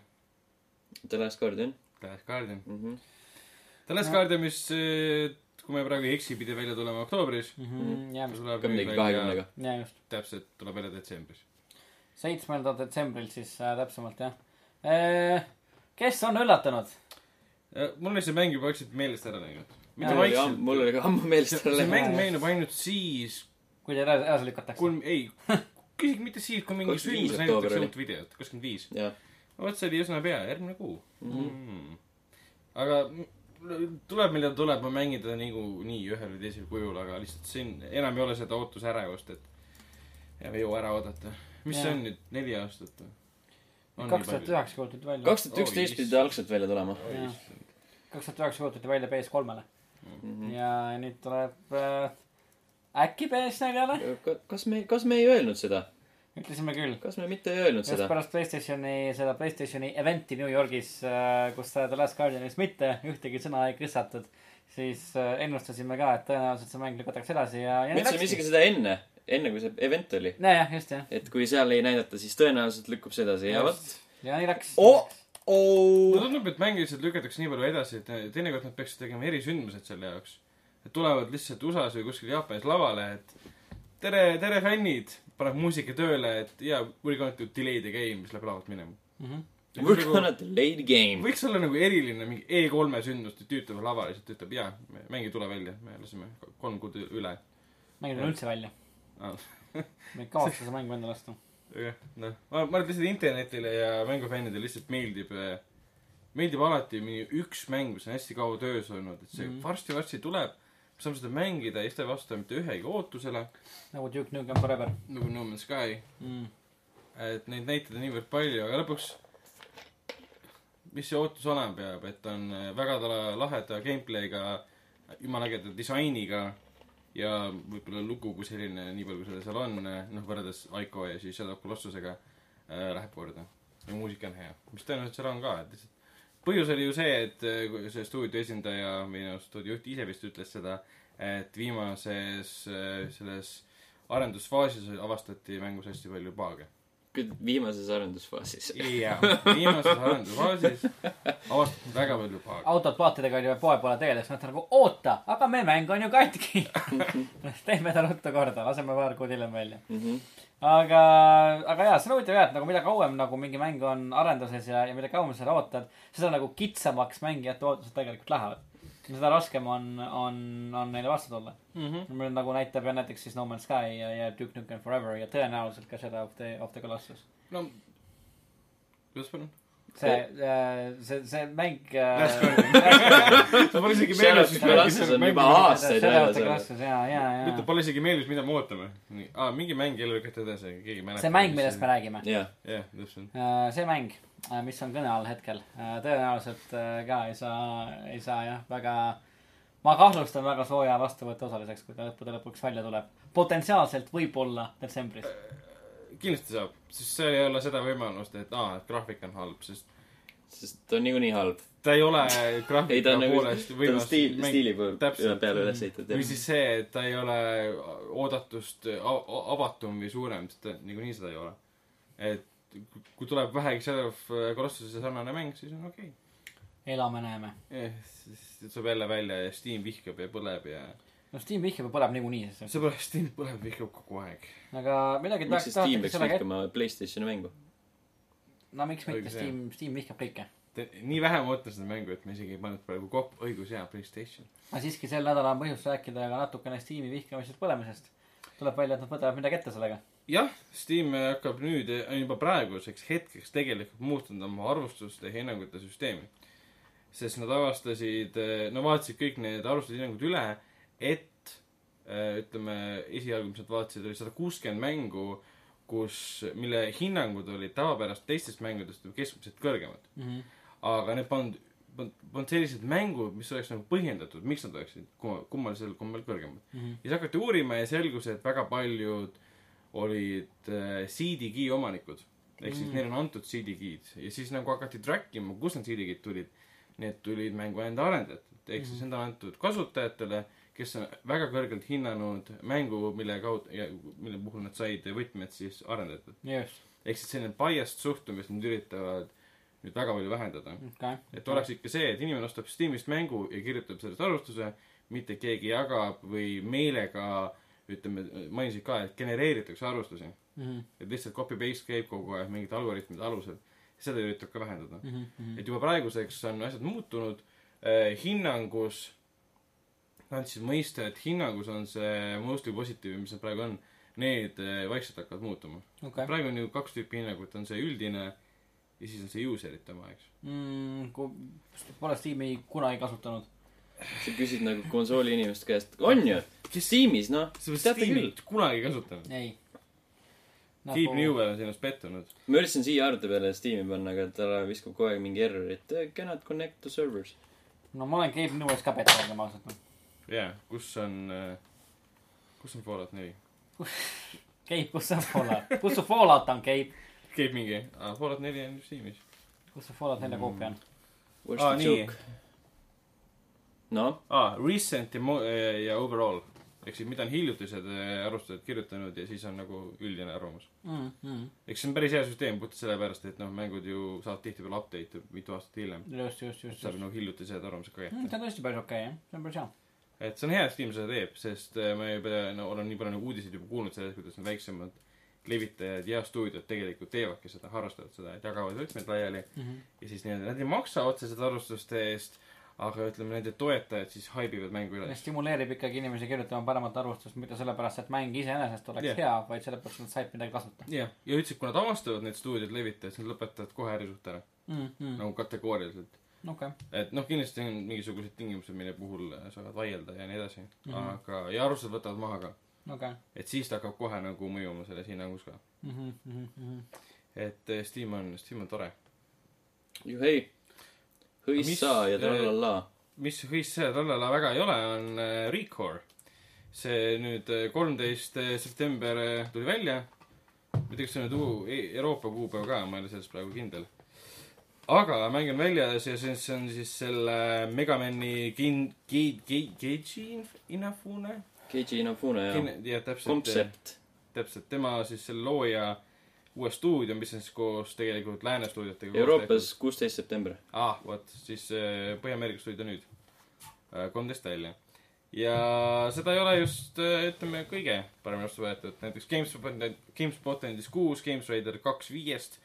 A: The Last Guardian
C: The Last Guardian .
A: mm . -hmm.
C: The Last
B: No.
C: Guardian , mis , kui ma praegu ei eksi , pidi välja tulema oktoobris .
B: Mm -hmm. jah ,
A: ka midagi . kahekümnega .
B: jaa just .
C: täpselt , tuleb välja detsembris .
B: seitsmendal detsembril siis äh, täpsemalt jah äh, . kes on üllatunud ?
C: Eh, mul oli see mäng juba vaikselt meelest ära läinud . mitte
B: Mul oli
A: mul
C: vaikselt .
A: oli ka ammu meeles
C: see
A: talle
C: see . mäng
B: Jaa.
C: meenub ainult siis ,
B: kui teil edasi lükatakse .
C: kui , ei , isegi mitte siis , kui mingi
A: 25
C: sündmus
A: oktoober
C: näidatakse
A: oli.
C: uut videot , kakskümmend viis .
A: jah ,
C: vot see oli üsna pea , järgmine kuu mm. . aga m- tuleb , millal tuleb , ma mängin teda niikuinii ühel või teisel kujul , aga lihtsalt siin enam ei ole seda ootusärevust , et enam ei jõua ära oodata . mis see
B: Jaa.
C: on nüüd , neli aastat või ?
B: kaks tuhat üheksa kuulutati välja .
A: kaks tuhat üksteist pidi ta algselt välja tulema .
B: Jaa. kaks tuhat üheksa kuulutati välja PS3-le ja nüüd tuleb äh, äkki PS4-le ,
A: kas me , kas me ei öelnud seda ?
B: ütlesime küll .
A: kas me mitte ei öelnud
B: just
A: seda ?
B: pärast Playstationi , seda Playstationi eventi New Yorgis , kus äh, The Last Guardianis mitte ühtegi sõna ei kõssatud , siis äh, ennustasime ka , et tõenäoliselt see mäng lükatakse edasi ja , ja
A: me
B: nii
A: ütlesime isegi
B: läkski .
A: seda enne , enne kui see event oli .
B: nojah , just jah ,
A: et kui seal ei näidata , siis tõenäoliselt lükkub see edasi ja vot .
B: ja nii läks
A: Oh! . oh.
C: mulle
A: oo .
C: tundub , et mänge lihtsalt lükatakse nii palju edasi , et teinekord nad peaksid tegema erisündmused selle jaoks . et tulevad lihtsalt USA-s või kuskil Jaapanis lavale , et tere , tere fännid , paneb muusika tööle , et ja yeah, we are going to delay the game , mis läheb lavalt minema .
B: Mhm.
A: We're gonna delay the game .
C: võiks olla nagu eriline mingi E3-e sündmus , et tüütab lava lihtsalt , ütleb jaa , mäng ei tule välja , me lasime kolm kuud üle .
B: mängid on üldse välja .
C: Ah.
A: Oh.
B: me ei kavatse seda mängu endale osta .
C: noh , ma ma arvan , et lihtsalt internetile ja mängufännidele lihtsalt meeldib , meeldib alati mingi üks mäng , mis on hästi kaua töös olnud , et see
B: Mhm.
C: varsti-varsti tuleb , me saame seda mängida ja siis ta ei vasta mitte ühegi ootusele ,
B: nagu Duke Nukem Forever
C: nagu No Man's Sky ,
B: mm. .
C: et neid näiteid on niivõrd palju , aga lõpuks mis see ootus olema peab , et on äh, väga tala- laheda gameplay'ga , jumala ägeda disainiga ja võib-olla lugu kui selline , nii palju kui seda seal on , noh võrreldes Aiko ja siis Shadow of Colossusega äh, läheb korda . ja muusika on hea , mis tõenäoliselt seal on ka , et lihtsalt põhjus oli ju see , et äh, kui see stuudio esindaja või noh , stuudio juht ise vist ütles seda , et viimases äh, selles arendusfaasis avastati mängus hästi palju paage .
A: viimases arendusfaasis .
C: jah , viimases arendusfaasis avastati väga palju paage .
B: autod paatidega oli veel poe poole teel ja siis mõtlen nagu oota , aga me mäng on ju katki . teeme ta ruttu korda , laseme paar kuud hiljem välja .
A: Mhm.
B: aga , aga jaa , see on huvitav jah , et nagu mida kauem nagu mingi mäng on arenduses ja , ja mida kauem sa seda ootad , seda nagu kitsamaks mängijate ootused tegelikult lähevad . seda raskem on , on , on neile vastu tulla .
C: Mhm.
B: meil on nagu näitab ja näiteks siis No Man's Sky ja , ja Duke Nukem Forever ja tõenäoliselt ka seda of the , of the Colossus .
C: no , kuidas palun ?
B: see , see , see mäng . äh,
C: Last Sa pole isegi
A: Shadow
C: meeles
A: of the , Colossus on juba aastaid väljas olnud .
B: olnud . jaa , jaa ,
C: ütle ,
B: jaa .
C: pole isegi meeles , mida me ootame . nii , aa , mingi mäng jälle lükati edasi , keegi ei mäleta .
B: see mäng , millest me . räägime .
A: jah ,
C: jah , täpselt .
B: Äh, see mäng , mis on kõne all hetkel , tõenäoliselt äh, ka ei saa , ei saa jah , väga , ma kahtlustan väga sooja vastuvõtu osaliseks , kui ta lõppude lõpuks välja tuleb . potentsiaalselt võib-olla detsembris .
C: kindlasti saab , sest seal ei ole seda võimalust , et aa , et graafik on halb , sest
A: sest ta on niikuinii halb .
C: ta ei ole
A: ei , ta
C: graafika
A: on nagu ,
C: poolest
A: ta on
C: võimas
A: stiil ,
C: mäng.
A: stiili poolt
C: Täpselt.
A: peale üles ehitatud .
C: või siis see , et ta ei ole oodatust a- a- avatum või suurem , sest ta niikuinii seda ei ole . et kui tuleb vähegi Shadow of Colossuse äh, sarnane mäng , siis on okei
B: elame-näeme .
C: okay. . siis tuleb jälle välja ja Steam vihkab ja põleb ja
B: no Steam vihkab ja põleb niikuinii , sest
C: seepärast Steam põleb , vihkab kogu aeg .
B: aga midagi
A: miks
B: tahaks ,
A: siis Steam
B: tahetakse
A: peaks
B: sellega ette ,
A: vihkama Playstationi mängu ?
B: no miks mitte ,
C: Õige see.
B: Steam , Steam vihkab kõike .
C: nii vähe ma ootan seda mängu , et ma isegi ei pannud praegu kokku , õigus jaa , Playstation .
B: aga siiski sel nädalal on põhjust rääkida ka natukene Steam'i vihkamisest , põlemisest . tuleb välja , et nad võtavad midagi ette sellega .
C: jah , Steam hakkab nüüd , on juba praeguseks hetkeks tegelikult muutnud oma arvustuste ja hinnangute süsteemi . sest nad avastasid , no vaatasid kõik need arvustused ja hinnangud üle , et äh, ütleme , esialgu , mis nad vaatasid , oli sada kuuskümmend mängu , kus , mille hinnangud olid tavapärast teistest mängudest keskmiselt kõrgemad .
B: mm . -hmm.
C: aga need polnud , polnud sellised mängud , mis oleks nagu põhjendatud , miks nad oleksid kumma- kummalisel kombel kõrgemad .
B: Mm -hmm.
C: ja siis hakati uurima ja selgus , et väga paljud olid äh, CD-key omanikud . ehk siis
B: Mm.
C: mm. neile on antud CD-key'd ja siis nagu hakati track ima , kust need CD-key'd tulid . Need tulid mängu enda arendajatelt . ehk siis need on antud kasutajatele , kes on väga kõrgelt hinnanud mängu , mille kaudu , mille puhul nad said võtmed siis arendajatelt .
B: just ,
C: ehk siis selline biased suhtumist nad üritavad nüüd väga palju vähendada .
B: okei .
C: et oleks . ikka see , et inimene ostab Steamist mängu ja kirjutab sellest arvustuse , mitte keegi jagab või meelega ütleme , mainisid ka , et genereeritakse arvustusi .
B: Mhm,
C: et lihtsalt copy-paste käib kogu aeg mingite algoritmide alusel . seda üritab ka vähendada .
B: mhm,
C: et juba praeguseks on asjad muutunud eh, . hinnangus , nad andsid mõista , et hinnangus on see mostly positiivne , mis seal praegu on . Need eh, vaikselt hakkavad muutuma .
B: okei .
C: praegu on ju kaks tüüpi hinnangut , on see üldine ja siis on see user'ite oma , eks .
B: Mm, kui pole Steam'i kunagi kasutanud .
A: sa küsid nagu konsooli inimeste käest , on ju , Steamis , noh , teate küll .
C: Steamit kunagi ei kasutanud .
B: ei .
A: Nagu-
C: Steve . Newell on sinust pettunud .
A: ma üritasin siia arvuti peale Steam'i panna , aga ta viskab kogu aeg mingi errori , et eh, cannot connect to servers .
B: no ma olen Gabe Newell's ka pettunud , olgem ausad .
C: jaa , kus on , kus on Fallout neli ?
B: Gabe , kus sa Fallout , kus su Fallout on , Gabe ?
C: käib mingi , aa , Fallout neli on Steamis .
B: kus su Fallout nelja koopia on ?
A: Where's
C: aa ,
A: the
C: nii
A: joke ?. noh ,
C: aa , recent ja mo- , ja overall . ehk siis , mida on hiljutised eh, arvustajad kirjutanud ja siis on nagu üldine arvamus .
B: Mm,
C: eks see on päris hea süsteem , puhtalt sellepärast , et noh , mängud ju saavad tihtipeale update'e mitu aastat hiljem .
B: just , just , just ,
C: saab
B: just .
C: nagu hiljutised arvamused ka
B: see
C: kätte .
B: on tõesti päris okei , jah . see on päris hea .
C: et see on hea , et Steam seda teeb , sest eh, ma juba , no olen nii palju nagu uudiseid juba kuulnud sellest , kuidas need väiksemad levitajad ja stuudiod tegelikult teevadki seda , harrastavad seda , et jagavad võtmed laiali ja siis nii-öelda nad ei maksa otseselt arvustuste eest , aga ütleme , nende toetajad siis haibivad mängu
B: see
C: üles .
B: stimuleerib ikkagi inimesi kirjutama paremat arvustust , mitte sellepärast , et mäng iseenesest oleks yeah.
C: Jah.
B: hea , vaid sellepärast , et nad said midagi kasutada
C: jah , ja ütlesid , kui nad avastavad need stuudiod levitajad , siis nad lõpetavad kohe ärisust ära
B: mm .
C: mm. ,
B: -hmm.
C: nagu kategooriliselt .
B: okei
C: et noh , kindlasti on mingisugused tingimused , mille puhul äh, saavad vaielda ja nii edasi mm ,
B: Mhm.
C: -hmm. aga , ja arvustused võtavad maha ka .
B: okay. , okei
C: et siis ta hakkab kohe nagu mõjuma selles hinnangus ka .
B: Mhm, mhm, mhm.
C: et eh, Steam on , Steam on tore .
A: juhei ,
C: Mis-
A: hõissa ja trallallaa .
C: mis hõis see tallala väga ei ole , on äh, Recore . see nüüd eh, kolmteist september äh, tuli välja . ma ei tea , kas see on nüüd uu- E- Euroopa kuupäev ka , ma ei ole selles praegu kindel . aga mäng on väljas ja see , see on siis selle Megamani Gin- , Gi- , Gi- , Geiji Inafune .
A: Keiji Inafune ja
C: jah , täpselt ,
A: Concept .
C: täpselt tema siis selle looja uue stuudio , mis on siis koos tegelikult lääne stuudiotega .
A: Euroopas kuusteist september .
C: ah , vot siis äh, Põhja-Ameerikas tuli ta nüüd Eh, kolmteist välja . ja seda ei ole just äh, ütleme kõige paremini vastu võetud , näiteks GameSpot , GameSpot andis kuus , GameSrider kaks viiest ,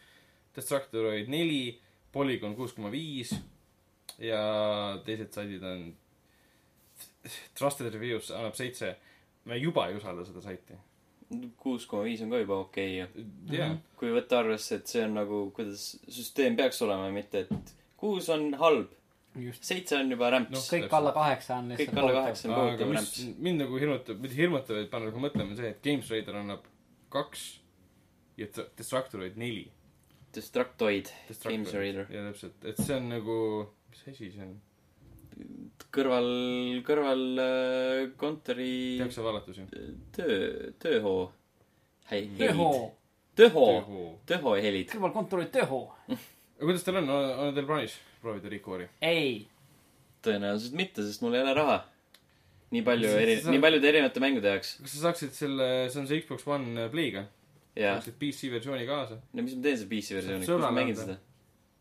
C: Destructoroid neli , Polygon kuus koma viis ja teised saidid on Trusted Reviews annab seitse . me juba ei usalda seda saiti .
A: kuus koma viis on ka juba okei ju .
C: jah ,
A: kui võtta arvesse , et see on nagu , kuidas süsteem peaks olema , mitte et kuus on halb ,
B: just . niin
A: seitse on juba rämps
C: Noh,
A: no, .
B: kõik
C: Täpselt.
B: alla kaheksa on lihtsalt .
A: kõik alla kaheksa on
C: aga
A: kohutav
C: mis
A: rämps .
C: mind nagu hirmutab , mitte hirmutab , vaid paneb nagu mõtlema , on see , et GameSrider annab kaks ja Dest- Destructoroid neli .
A: Destructoid , Games
C: jaa ,
A: Raider .
C: täpselt , et see on nagu , mis asi see on ?
A: kõrval , kõrval äh, kontori
C: tehakse vallatusi .
A: töö , tööhoo . tööhoo .
B: Töho ,
A: tööhoo ,
C: aga
A: tööhoohelid .
B: kõrval kontori Töho .
C: kuidas teil on , on teil plaanis proovida Recore'i ?
B: ei ,
A: tõenäoliselt mitte , sest mul ei ole raha . nii palju
C: Sa-
A: eri
C: sa- ,
A: nii paljude erinevate mängude jaoks .
C: kas sa saaksid selle , see on see Xbox One Play'ga ,
A: jaa ,
C: saaksid PC versiooni kaasa ,
A: no mis ma teen selle PC versiooniga , kus
C: Sõbrale
A: ma mängin
C: anda.
A: seda ?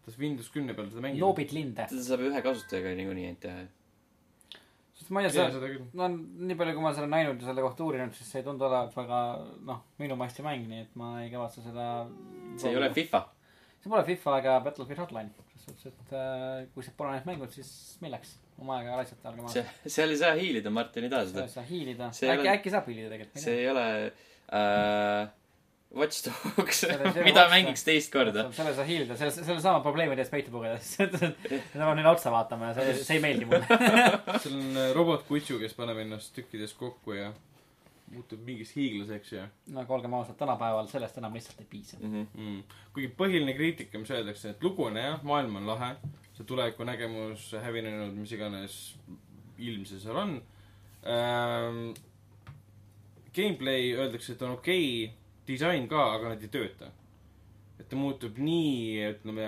C: kas Windows kümne peal seda mängida ?
B: loobid linde .
A: seda saab ühe kasutajaga niikuinii ainult teha .
B: sest ma ei
C: jaa ,
B: tea ,
C: seda küll .
B: no nii palju , kui ma seda näinud ja selle kohta uurinud , siis see ei tundu olevat väga noh , minu masti mäng , nii et ma ei kavatse seda .
A: see ei ole FIFA .
B: see pole FIFA ega Battlefield Hotline , selles suhtes , et äh, kui sa pole neid mänginud , siis milleks oma aega raisata , olgem
A: see
B: ausad .,
A: seal ei saa hiilida , Martin ei taha
B: sa
A: seda
B: ei . saa hiilida ,
A: see ei
B: äkki ,
A: ole-
B: äkki saab hiilida tegelikult .
A: see ei ole äh, Watch Dogs
B: ei ole ,
A: mida
B: Watch
A: mängiks teist korda .
B: selle sa hiilida , selle , selle sama probleemi teed peitu pugeda , siis me peame neile otsa vaatama ja see , see ei meeldi mulle .
C: seal on äh, robotkutsu , kes paneb ennast tükkides kokku ja muutub mingiks hiiglaseks ja
B: nagu olgem ausad , tänapäeval sellest enam lihtsalt ei piisa .
A: Mhm.
C: mm. . kuigi põhiline kriitika , mis öeldakse , et lugu on hea , maailm on lahe , see tulevikunägemus hävinenud , mis iganes ilm see seal on ähm, . Gameplay öeldakse , et on okei okay, , disain ka , aga nad ei tööta . et ta muutub nii , ütleme ,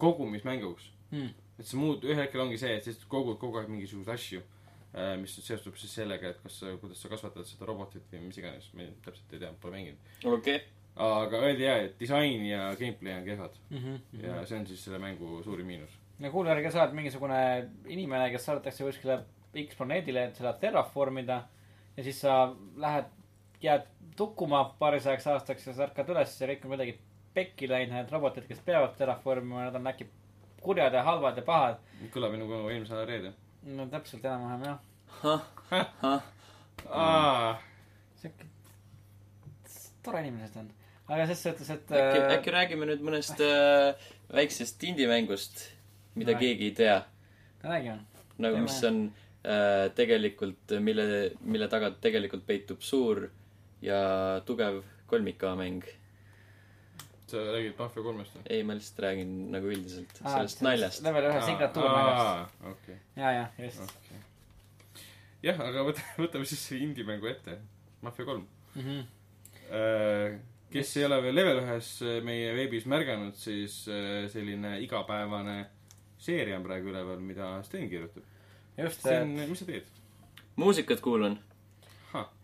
C: kogumismänguks .
B: Mm.
C: et sa muud , ühel hetkel ongi see , et siis kogud kogu aeg mingisuguseid asju , mis seostub siis sellega , et kas , kuidas sa kasvatad seda robotit või mis iganes , ma ei- täpselt ei tea , pole mänginud .
A: okei ,
C: aga öeldi jaa , et disain ja gameplay on kehvad
B: -hmm.
C: ja see on siis selle mängu suurim miinus .
B: no kuule , ärge sa oled mingisugune inimene , kes saadetakse kuskile X planeedile , et seda terraformida ja siis sa lähed , jääd tukkuma paarisajaks aastaks ja sa ärkad üles ja kõik on kuidagi pekki läinud , need robotid , kes peavad terraformima , nad on äkki kurjad ja halvad ja pahad .
C: kõlab nagu eelmise nädala reede .
B: no täpselt enam-vähem jah . sihuke tore inimene see on . aga ses suhtes , et
A: äkki ,
B: äh,
A: äkki räägime nüüd mõnest äh, väiksest indie-mängust , mida
B: No.
A: keegi ei tea .
B: räägime .
A: nagu ,
B: Teeme.
A: mis on äh, tegelikult , mille , mille taga tegelikult peitub suur ja tugev kolmik-A-mäng .
C: sa räägid Mafia kolmest või ?
A: ei , ma lihtsalt räägin nagu üldiselt
B: Ah,
A: sellest naljast .
B: level ühe signatuurmängust .
C: okei ,
B: ja , ja , just .
C: okei . jah , aga võta , võtame siis see indie-mängu ette . Mafia kolm .
B: Mhm.
C: kes ei ole veel level ühes äh, meie veebis märganud , siis äh, selline igapäevane seeria on praegu üleval , mida Sten kirjutab .
B: just ,
C: Sten , mis sa teed ?
A: muusikat kuulan ,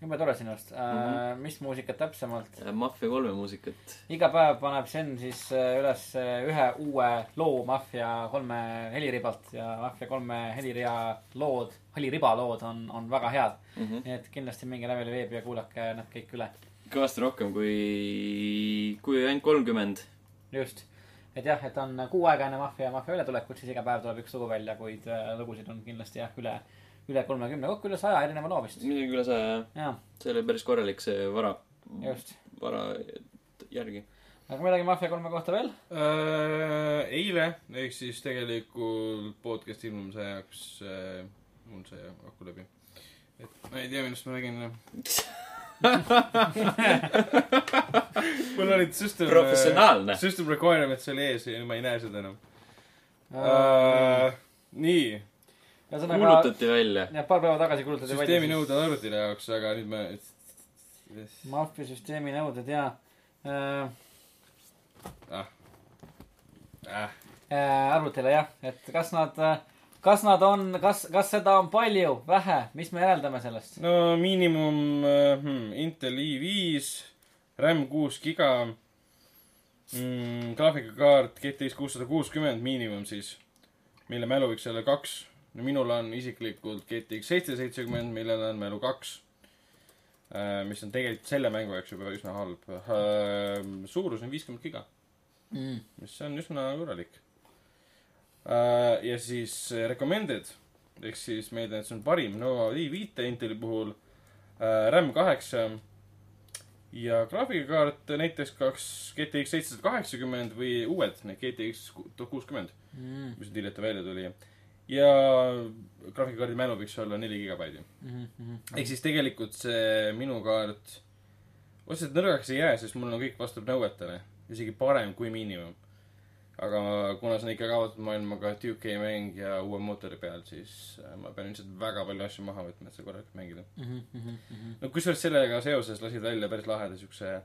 B: jube tore sinust äh, .
A: Mhm.
B: mis muusikat täpsemalt ?
A: Äh, Mafia kolme muusikat .
B: iga päev paneb Sven siis äh, üles äh, ühe uue loo Mafia kolme heliribalt ja Mafia kolme helirea lood , heliriba lood on , on väga head mm .
A: Mhm.
B: -hmm. nii et kindlasti minge leveli veebi ja kuulake nad kõik üle .
A: kõvasti rohkem kui , kui ainult kolmkümmend .
B: just , et jah , et on kuu aega enne Mafia , Mafia ületulekut , siis iga päev tuleb üks lugu välja , kuid äh, lugusid on kindlasti jah , üle , üle kolmekümne , kokku üle saja erineva loo vist .
A: midagi üle saja , jah .
B: jah ,
A: see oli päris korralik , see vara ,
B: just .
A: vara järgi .
B: aga midagi Mafia kolme kohta veel ?
C: Äh, eile , ehk siis tegelikult podcast'i ilmumise ajaks äh, on see aku läbi . et ma ei tea , millest ma räägin enam . mul olid system .
A: Professionaalne.
C: System requirements oli ees ja ma ei näe seda enam
B: Äh,
C: uh, . nii ,
A: kuulutati välja .
B: nagu jah , paar päeva tagasi kuulutati
C: Äh, süsteemi nõuded on arvutile jaoks , aga nüüd ma .
B: Mafia süsteemi nõuded ja äh,
C: Ah. Äh,
B: äh, arvutile jah , et kas nad äh, , kas nad on , kas , kas seda on palju , vähe , mis me järeldame sellest ?
C: no miinimum äh, hmm, Intel i5 , RAM kuus giga mm, , graafikakaart GTX kuussada kuuskümmend miinimum siis , mille mälu võiks olla kaks . no minul on isiklikult GTX seitse seitsekümmend , millel on mälu kaks äh, mis on tegelikult selle mängu jaoks juba üsna halb äh, . suurus on viiskümmend giga .
B: Mm.
C: mis on üsna korralik . ja siis äh, recommended ehk siis meelde , et see on parim Nova i5-te Inteli puhul . RAM kaheksa ja graafikakaart äh, näiteks kaks GTX seitsesada kaheksakümmend või uued , need GTX tuhat kuuskümmend ,
B: Mm.
C: mis nüüd hiljuti välja tuli . ja graafikakaardi mälu võiks olla neli gigabaiti .
B: Mm -hmm.
C: ehk siis tegelikult see minu kaart otseselt nõrgaks ei jää , sest mul on kõik vastab nõuetele , isegi parem kui miinimum . aga kuna see on ikkagi avatud maailmaga 2K mäng ja uue mootori peal , siis äh, ma pean ilmselt väga palju asju maha võtma , et seda korralikult mängida .
B: Mm -hmm.
C: no kusjuures sellega seoses lasid välja päris laheda siukse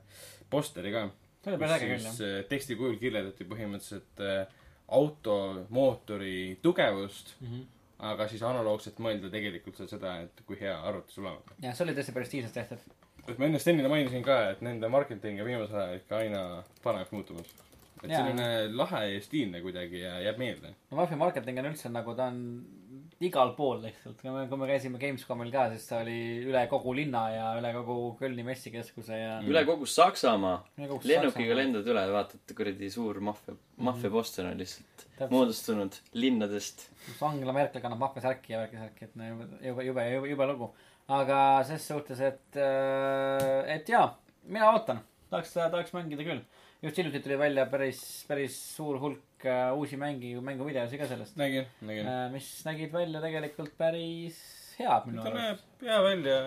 C: posteri ka ,
B: see oli päris äge
C: kus
B: küll jah
C: siis . äh, teksti kujul kirjeldati põhimõtteliselt äh, auto mootori tugevust ,
B: Mhm.
C: aga siis analoogselt mõelda tegelikult seal seda , et kui hea arvuti sul on .
B: jah , see oli tõesti päris stiilselt tehtud .
C: et ma enne Stenile mainisin ka , et nende marketing on viimasel ajal ikka aina paremaks muutumas . et
B: Jaa.
C: selline lahe ja stiilne kuidagi ja jääb meelde .
B: no Mafia marketing on üldse nagu ta on igal pool lihtsalt , kui me , kui me käisime Gamescomil ka , siis ta oli üle kogu linna ja üle kogu Kölni messikeskuse ja
A: üle kogu Saksamaa
B: Üle Mm. kogu
A: lennukiga
B: Saksamaa. Mm.
A: lendad üle , vaatad kuradi suur maffia , maffiaposter on lihtsalt
B: Täpselt.
A: moodustunud linnadest .
B: kus Angela Merkel kannab mahkasärki ja värkisärki , et no jube , jube , jube, jube , jube lugu . aga ses suhtes , et , et jaa , mina ootan , tahaks , tahaks mängida küll . just hiljuti tuli välja päris , päris suur hulk äh, uusi mängi , mänguvideosi ka sellest ,
C: nägin , nägin .
B: mis nägid välja tegelikult päris head minu
C: ta
B: arust .
C: näeb hea välja .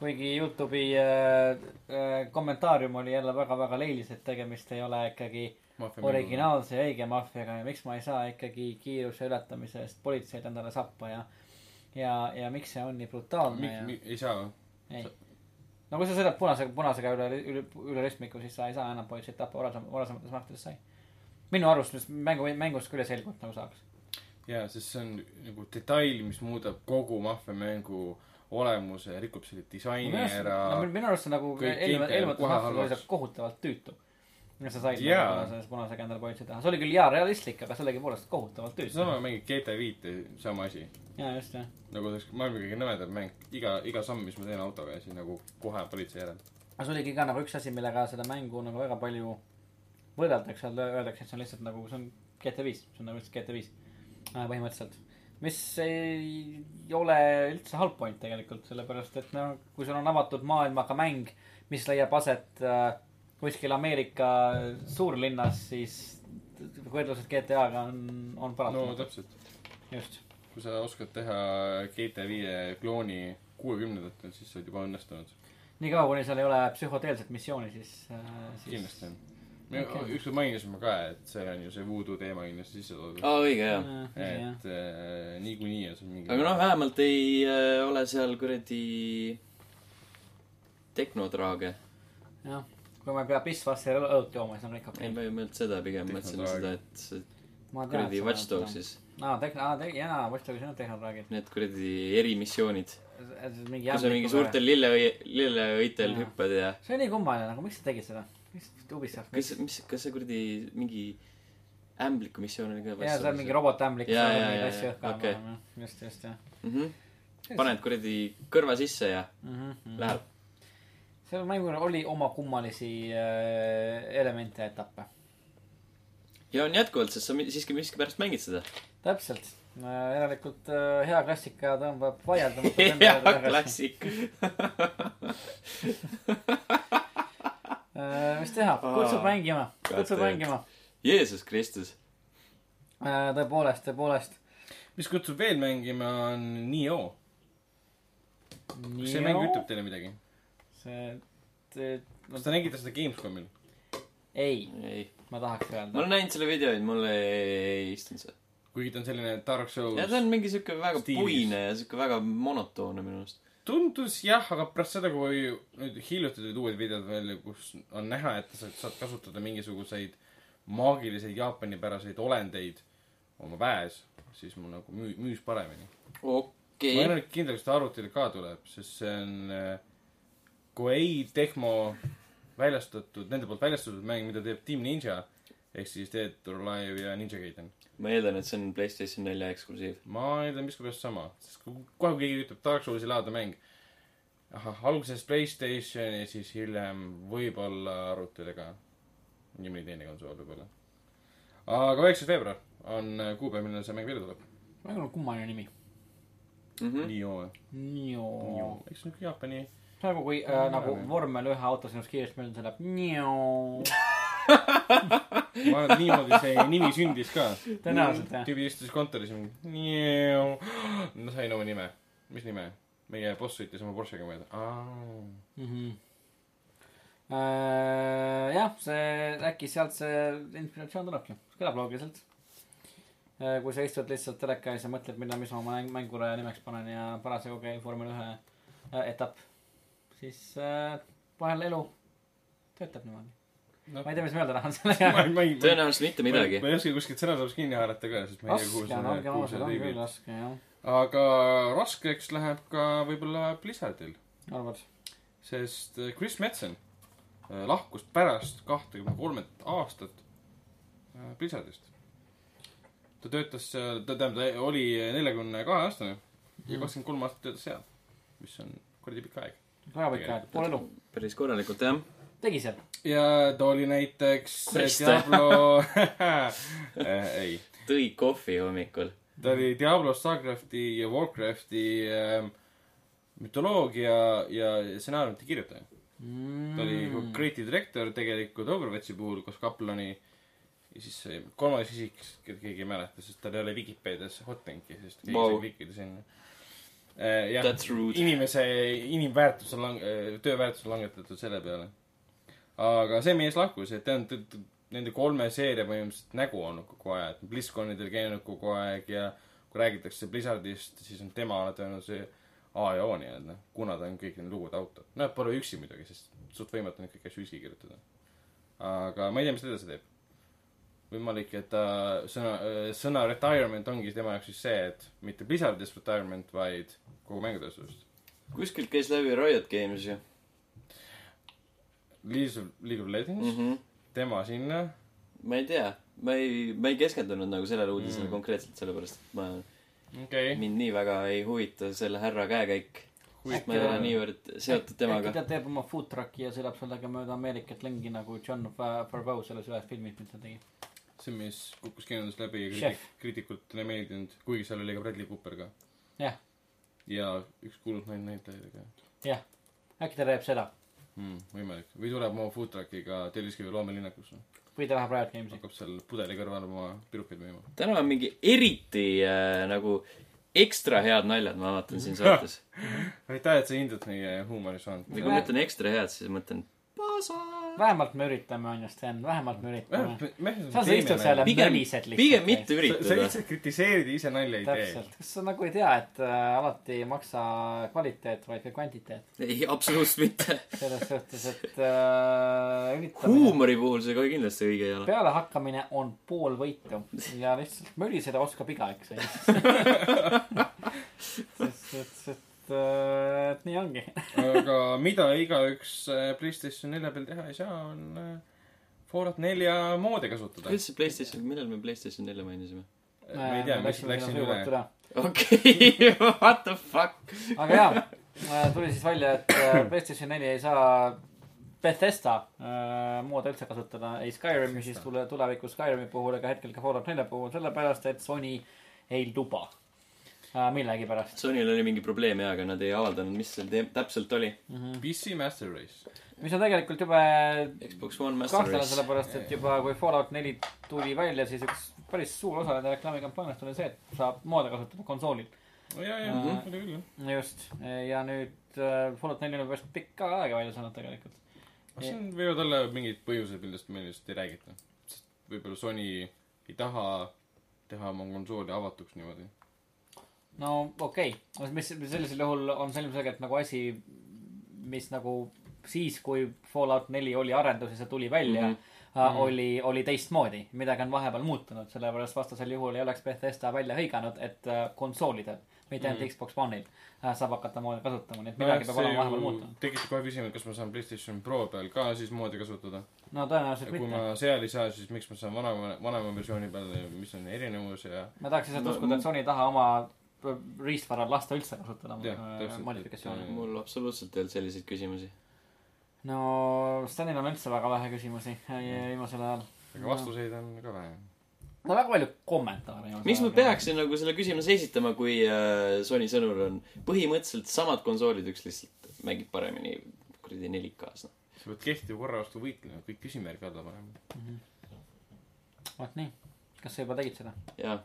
B: kuigi Youtube'i äh, äh, kommentaarium oli jälle väga-väga leilis , et tegemist ei ole ikkagi originaalse ja õige maffiaga ja miks ma ei saa ikkagi kiiruse ületamise eest politseid endale sappa ja ja , ja miks see on nii brutaalne
C: miks
B: ja
C: mi, ei saa ?
B: ei . no kui sa sõidad punasega , punasega üle , üle , üle ristmiku , siis sa ei saa enam politseid tappa , varasem , varasemates mahtudes sai . minu arust , mis mängu , mängust küll ei selgu , et nagu saaks .
C: jaa , sest see on nagu detail , mis muudab kogu maffiamängu olemuse ja rikub selle disaini ära .
B: minu arust see nagu
C: kõik
B: eelmine ,
C: internet
B: eelmine
C: kohe
B: Mafia oli
C: halvas.
B: kohutavalt tüütu . ja sa said
C: Jaa.
B: nagu punase , punasega endale politsei taha , see oli küll hea realistlik , aga sellegipoolest kohutavalt tüütu .
C: sama mängib GTA viite , sama asi .
B: jaa , just jah .
C: nagu ta oleks maailma kõige nõmedam mäng . iga , iga samm , mis ma teen autoga ja siis nagu kohe politsei järel .
B: aga see oligi ka nagu üks asi , millega seda mängu nagu väga palju võrreldakse , öeldakse , et see on lihtsalt nagu , see on GTA viis , see on nagu lihtsalt GTA viis äh, põhimõtteliselt . mis ei ole üldse halb point tegelikult , sellepärast et noh , kui sul on avatud maailmaga mäng , mis leiab aset äh, kuskil Ameerika suurlinnas , siis võrdlused GTA-ga on , on
C: no
B: paratamatud no, .
C: täpselt .
B: just ,
C: kui sa oskad teha GTA viie klooni kuuekümnendatel , siis sa oled juba õnnestunud .
B: niikaua kuni seal ei ole psühhoteelset missiooni , siis äh, , siis
C: kindlasti on . me
B: Okei.
C: okay. ükskord mainisime ka , et see on ju see voodoo teema kindlasti sisse toodud .
A: aa , õige Ah, jah .
B: äh, .
C: et äh, niikuinii on seal mingi .
A: aga noh , vähemalt ei äh, ole seal kuradi tehnotraage .
B: jah , kui ma ei pea pissvasse ja õlut jooma , siis on kõik okei
A: ei , ma ei mõelnud seda , pigem mõtlesin seda ,
C: Tehnotraage.
A: et see
B: Ma tean,
A: kuradi
B: et sa
A: Watch
B: oled seda-
A: Dogsis ,
B: aa , tehn- , aa , teg- , jaa , Watch Dogsis on tehnotraagid .
A: need kuradi erimissioonid ,
B: mingi
A: kus sa mingi . suurtel lilleõie , lilleõitel
B: Jaa.
A: hüppad ja
B: see oli kummaline , nagu miks sa tegid seda ? miks Ubisoft ?
A: kas , mis , kas see kuradi mingi ämbliku missioon oli ka
B: jaa , see on mingi robotämblik ,
A: Jaa,
B: saab
A: jaa,
B: mingeid
A: jaa,
B: asju
A: jaa,
B: õhku
A: okei.
B: ajama , just , just , jah
A: robo- . Mhm. paned kuradi kõrva sisse ja
B: Mhm, mhm.
A: läheb .
B: seal mängul oli oma kummalisi äh, elemente ja etappe .
A: ja on jätkuvalt , sest sa mi- siiski miskipärast mängid seda .
B: täpselt , järelikult äh, hea klassika tõmbab vaieldamatult enda
A: hea
B: juurde tagasi .
A: klassik .
B: Äh, mis teha , kutsub
A: Aa,
B: mängima , kutsub
A: God damn.
B: mängima .
A: Jeesus Kristus .
B: tõepoolest , tõepoolest .
C: mis kutsub veel mängima , on Nio . kas see mäng ütleb teile midagi ?
B: see , see ,
C: kas te nägite seda Gamescomil ?
B: ei ,
A: ei ,
B: ma tahaks
A: ma
B: öelda .
A: olen näinud selle videoid , mulle ei istunud see .
C: kuigi ta on selline Dark Souls
A: ja . ta on mingi siuke väga
C: Stiilis.
A: puine ja siuke väga monotoonne minu arust .
C: tundus jah , aga pärast seda , kui nüüd hiljuti tulid uued videod välja , kus on näha , et sa saad kasutada mingisuguseid maagiliseid jaapanipäraseid olendeid oma väes , siis mul nagu müü- , müüs paremini . ma ei
A: okei
C: ole . nüüd kindel , kas ta arvutile ka tuleb , sest see on äh, Koei Tehmo väljastatud , nende poolt väljastatud mäng , mida teeb Team Ninja ehk siis Dead or Alive ja Ninja Gaiden .
A: ma eeldan , et see on Playstation nelja eksklusiiv .
C: ma eeldan miskipärast sama , sest kui kohe kui keegi ütleb Dark Soulsi laadne mäng , ahah , alguses Playstation ja siis hiljem võib-olla arvutile ka . nii mõni teine konsool võib-olla . aga üheksas veebruar on äh, kuupäev , millal see mäng välja tuleb .
B: mängul on kummaline nimi .
A: Mm. Mhm.
C: nii joo ,
B: Nio .
C: eks niuke Jaapani .
B: praegu , kui äh, nagu vormel ühe auto sinust kiiresti mööda läheb , nio .
C: ma arvan , et niimoodi see nimi sündis ka .
B: Tõenäoliselt, jah.
C: tüübi istus kontoris ja mingi nii-oo . no sain oma nime . mis nime ? meie boss sõitis oma Porschega mööda . aa ,
B: Mhm. Äh, jah , see , äkki sealt see inspiratsioon tulebki , kõlab loogiliselt . kui sa istud lihtsalt teleka ees ja mõtled , mida , mis ma oma mäng- mängule nimeks panen ja parasjagu käib vormel ühe äh, etapp , siis äh, vahel elu töötab niimoodi .
C: Noh.
B: ma ei tea , mis ma öelda tahan sellega .
C: ma ei , ma ei
A: tõenäoliselt mitte midagi
C: ma . ei oska kuskilt sõnasabast kinni haarata ka , sest ma ei tea , kuhu
B: raske on , olgem ausad ,
C: see
B: on küll
C: viib .
B: raske jah ,
C: aga raskeks läheb ka võib-olla Blizzardil ,
B: arvad ?
C: sest eh, Chris Metzen äh, lahkus pärast kahtekümne kolmet aastat äh, Blizzardist . ta töötas seal , ta tähendab , ta oli neljakümne kahe aastane ja kakskümmend kolm aastat töötas seal , mis on kuradi pikk aeg .
B: väga pikk aeg , pool elu .
A: päris korralikult jah .
B: tegi seal .
C: ja ta oli näiteks
A: Kriste.
C: Diablo äh, , ei
A: tõi kohvi hommikul .
C: ta oli Diablo , Starcrafti ja Warcrafti ähm, mütoloogia ja stsenaariumite kirjutaja .
B: Mm.
C: ta oli ka creative director tegelikult Overwatchi puhul koos Kaplani ja siis see kolmas isik , keda keegi ei mäleta , sest tal ei ole Vikipeedias hotlink'i , sest keegi
A: Vau.
C: ei saa klikkida sinna . Äh, jah ,
A: That's rude.
C: inimese , inimväärtus on lang- , töö väärtus on langetatud selle peale . aga see mees lahkus , et ta on t- t- nende kolme seeria põhimõtteliselt nägu olnud kogu aeg , BlizzConidel käinud kogu aeg ja kui räägitakse Blizzardist , siis on tema tõenäoliselt A ja O nii-öelda , kuna ta on kõik need lood autor . noh , pole üksi muidugi , sest suht võimatu on kõiki asju üksi kirjutada . aga ma ei tea , mis ta edasi teeb . võimalik , et ta sõna , sõna retirement ongi tema jaoks siis see , et mitte Blizzardist retirement , vaid kogu mängutööstusest .
A: kuskilt käis läbi Riot Games ju
C: League of , League of Legends
A: mm .
B: Mhm.
C: mm ,
A: -hmm.
C: -hmm. tema sinna .
A: ma ei tea , ma ei , ma ei keskendunud nagu sellele uudisele
C: Mm.
A: mm. Eh. konkreetselt , sellepärast et ma ,
C: okei okay. .
A: mind nii väga ei huvita selle härra käekäik . ma ei ole niivõrd seotud temaga
B: äkki . ta teeb oma food truck'i ja sõidab sellega mööda Ameerikat lengi nagu John Fa- Favreau selles ühes filmis , mis ta tegi .
C: see , mis kukkus kinodest läbi ja
B: Chef.
C: kriitikult ei meeldinud , kuigi seal oli ka Bradley Cooper ka .
B: Jah. .
C: ja üks kuulus naine näitlejaid ka
B: jah , äkki ta teeb seda
C: mm, . võimalik . või tuleb oma food truck'iga Telliskivi loomelinnakusse .
B: või ta läheb Riot Games'i .
C: hakkab seal pudeli kõrval oma pirukaid müüma .
A: täna on mingi eriti äh, nagu ekstra head naljad , ma vaatan siin saates .
C: aitäh , et sa hindad meie huumorisaanud .
B: Nagu-
A: või kui ma ütlen ekstra head , siis ma mõtlen pasa .
B: vähemalt me üritame , on ju , Sten , vähemalt me üritame . sa
C: sa
B: istud seal ja
A: pigem
B: mölised , lihtsalt .
A: pigem mitte
C: sa
A: üritada .
C: lihtsalt kritiseerid ja ise nalja ei tee .
B: täpselt , kas sa nagu ei tea , et äh, alati ei maksa kvaliteet , vaid ka kvantiteet .
A: ei , absoluutselt mitte .
B: selles suhtes , et äh, üritamine ,
A: huumori puhul see kohe kindlasti õige ei ole .
B: pealehakkamine on pool võitu ja lihtsalt möliseda oskab igaüks , eks . sest , et , et , et nii ongi .
C: aga mida igaüks äh, Playstation nelja peal teha ei saa , on äh, Fallout nelja moodi kasutada .
A: üldse PlayStation , millal me PlayStation nelja mainisime ?
C: ma ei
B: Äh,
C: tea , mis läksin üle ..
A: okei okay, , what the fuck .
B: aga jaa , tuli siis välja , et äh, PlayStation neli ei saa Bethesda äh, moodi üldse kasutada , ei Skyrimi siis tule , tulevikus Skyrimi puhul ega hetkel ka Fallout nelja puhul , sellepärast et Sony ei luba äh, millegipärast .
A: Sonyl oli mingi probleem jaa , aga nad ei avaldanud , mis see teem- täpselt oli .
C: PC Master Race .
B: Mhm. mis on tegelikult jube
A: Xbox One Master
B: kahtlane ,
A: Race .
B: sellepärast et juba kui Fallout neli tuli välja , siis üks päris suur osa nende reklaamikampaaniast oli see , et saab moodi kasutada konsoolil .
C: ja , ja ,
B: Mhm.
C: oli küll , jah .
B: just , ja nüüd äh, Fallout neli on juba päris pikka aega väljas olnud tegelikult .
C: siin võivad olla mingid põhjused , millest meil just ei räägita . võib-olla Sony ei taha teha oma konsooli avatuks niimoodi .
B: no okei okay. , mis mis sellisel juhul on see ilmselgelt nagu asi , mis nagu siis , kui Fallout neli oli arenduses ja tuli välja mm ,
A: Mhm.
B: -hmm. oli , oli teistmoodi . midagi on vahepeal muutunud , sellepärast vastasel juhul ei oleks Bethesda välja hõiganud , et äh, konsoolidel , mitte
C: Mhm.
B: ainult mm -hmm. Xbox One'il äh, saab hakata moodi kasutama , nii et midagi peab olema vahepeal muutunud .
C: tekib kohe küsimus , kas ma saan Playstation Pro peal ka siis moodi kasutada .
B: no tõenäoliselt
C: kui
B: mitte .
C: ma seal ei saa , siis miks ma saan vanema , vanema versiooni peal , mis on erinevus ja
B: ma tahaks lihtsalt
A: Ma-
B: uskuda , et Sony ei taha oma äh, riistvara lasta üldse kasutada
C: Jah,
B: äh,
C: täpselt, et,
B: modifikatsioone
C: äh, .
A: mul absoluutselt ei olnud selliseid küsimusi .
B: no Stanil on üldse väga vähe küsimusi äh,
C: Mm.
B: viimasel ajal .
C: aga vastuseid on ka vähe .
B: no väga palju kommentaare ei ole .
A: miks ma ? peaksin nagu selle küsimuse esitama , kui äh, Sony sõnul on põhimõtteliselt samad konsoolid , üks lihtsalt mängib paremini kuradi 4K-s , noh .
C: sa pead kehtiva korra vastu võitlema , kõik küsimärgi alla panema .
B: vot nii , kas sa juba tegid seda ?
A: jaa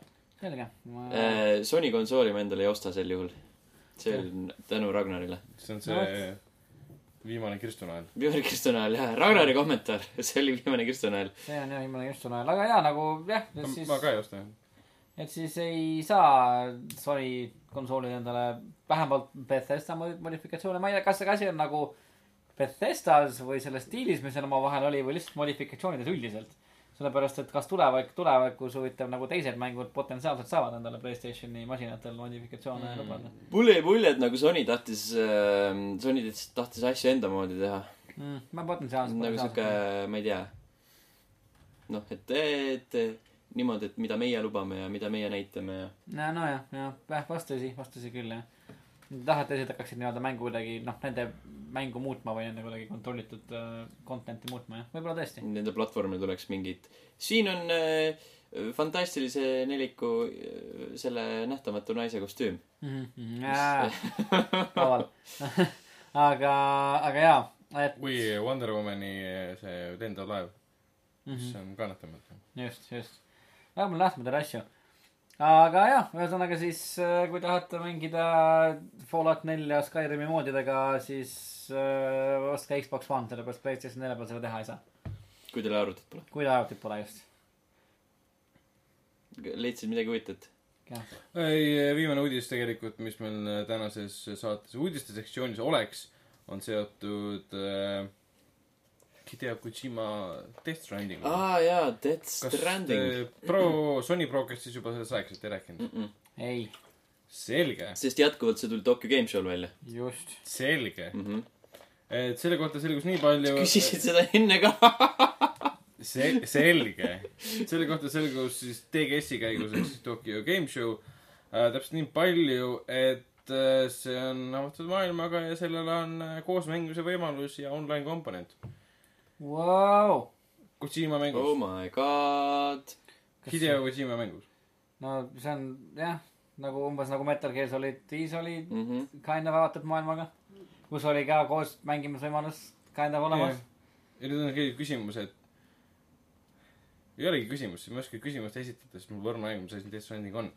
B: selge , ma äh... ,
A: äh, . Sony konsooli ma endale ei osta sel juhul . see on tänu Ragnarile .
C: see on see viimane kirstunael .
A: viimane kirstunael , jah . Ragnari kommentaar , see oli viimane kirstunael .
B: see on jah , viimane just on ajal , aga jaa , nagu jah , et siis
C: ma , ka ei osta .
B: et siis ei saa Sony konsoolid endale vähemalt Bethesda mod- modifikatsioone , ma ei tea , kas see asi on nagu Bethestas või selles diilis , mis seal omavahel oli või lihtsalt modifikatsioonides üldiselt . sellepärast , et kas tulevik , tulevikus huvitav nagu teised mängud potentsiaalselt saavad endale Playstationi masinatel modifikatsioone mm. lubada
A: mulle jäi mulje , et nagu Sony tahtis äh, , Sony tahtis, tahtis asju enda moodi teha .
B: mm, . ma potentsiaalselt .
A: nagu sihuke , ma ei tea . noh , et , et niimoodi , et mida meie lubame ja mida meie näitame ja .
B: no nojah , jah , jah , vastasi , vastasi küll jah . tahate lihtsalt hakkaksid nii-öelda mängu kuidagi noh , nende mängu muutma või nende kuidagi kontrollitud äh, content'i muutma jah , võib-olla tõesti .
A: Nende platvormil tuleks mingid , siin on äh, fantastilise neliku äh, selle nähtamatu naise kostüüm .
B: Mhm, laval . aga , aga jaa , et
C: kui Wonder Womani see lendav laev mm , -hmm. siis on kannatamatu .
B: Mhm, just , just . väga palju nähtamatud asju . aga jah , ühesõnaga siis , kui tahate mängida Fallout nelja Skyrimi moodidega , siis äh, ostke Xbox One , sellepärast PlayStation nelja peal seda teha ei saa .
A: kui teil arvutit pole .
B: kui te arvutit pole just .
A: leidsid midagi huvitavat ?
B: jah ,
C: ei , viimane uudis tegelikult , mis meil tänases saates uudiste sektsioonis oleks , on seotud äh, Hideo Kojima Death Strandingu .
A: aa jaa , Death Stranding .
C: te Pro , Sony Procastis juba sellest rääkisite , ei rääkinud ?
B: ei ,
C: selge ,
A: sest jätkuvalt see tuli Tokyo Game Show'l välja
B: just .
C: selge .
A: mm . -hmm.
C: et selle kohta selgus nii palju .
A: küsisid seda enne ka ?
C: sel- , selge . selle kohta selgus siis TGS-i käigus ehk siis Tokyo Game Show äh, täpselt nii palju , et äh, see on avatud maailmaga ja sellel on äh, koosmängimise võimalus ja online komponent .
B: Vau ,
C: Kojima
A: oh
C: mängus ,
A: my god .
C: Hideo Kojima mängus .
B: no see on jah , nagu umbes nagu Metal Gear Solid viis oli
A: Mm -hmm.
B: kind of avatud maailmaga , kus oli ka koos mängimisvõimalus kind of olemas .
C: ja nüüd on keegi küsimus , et ei olegi küsimust , ma ei oska küsimust esitada , sest mul võrna aeg , mis asi Death Stranding on .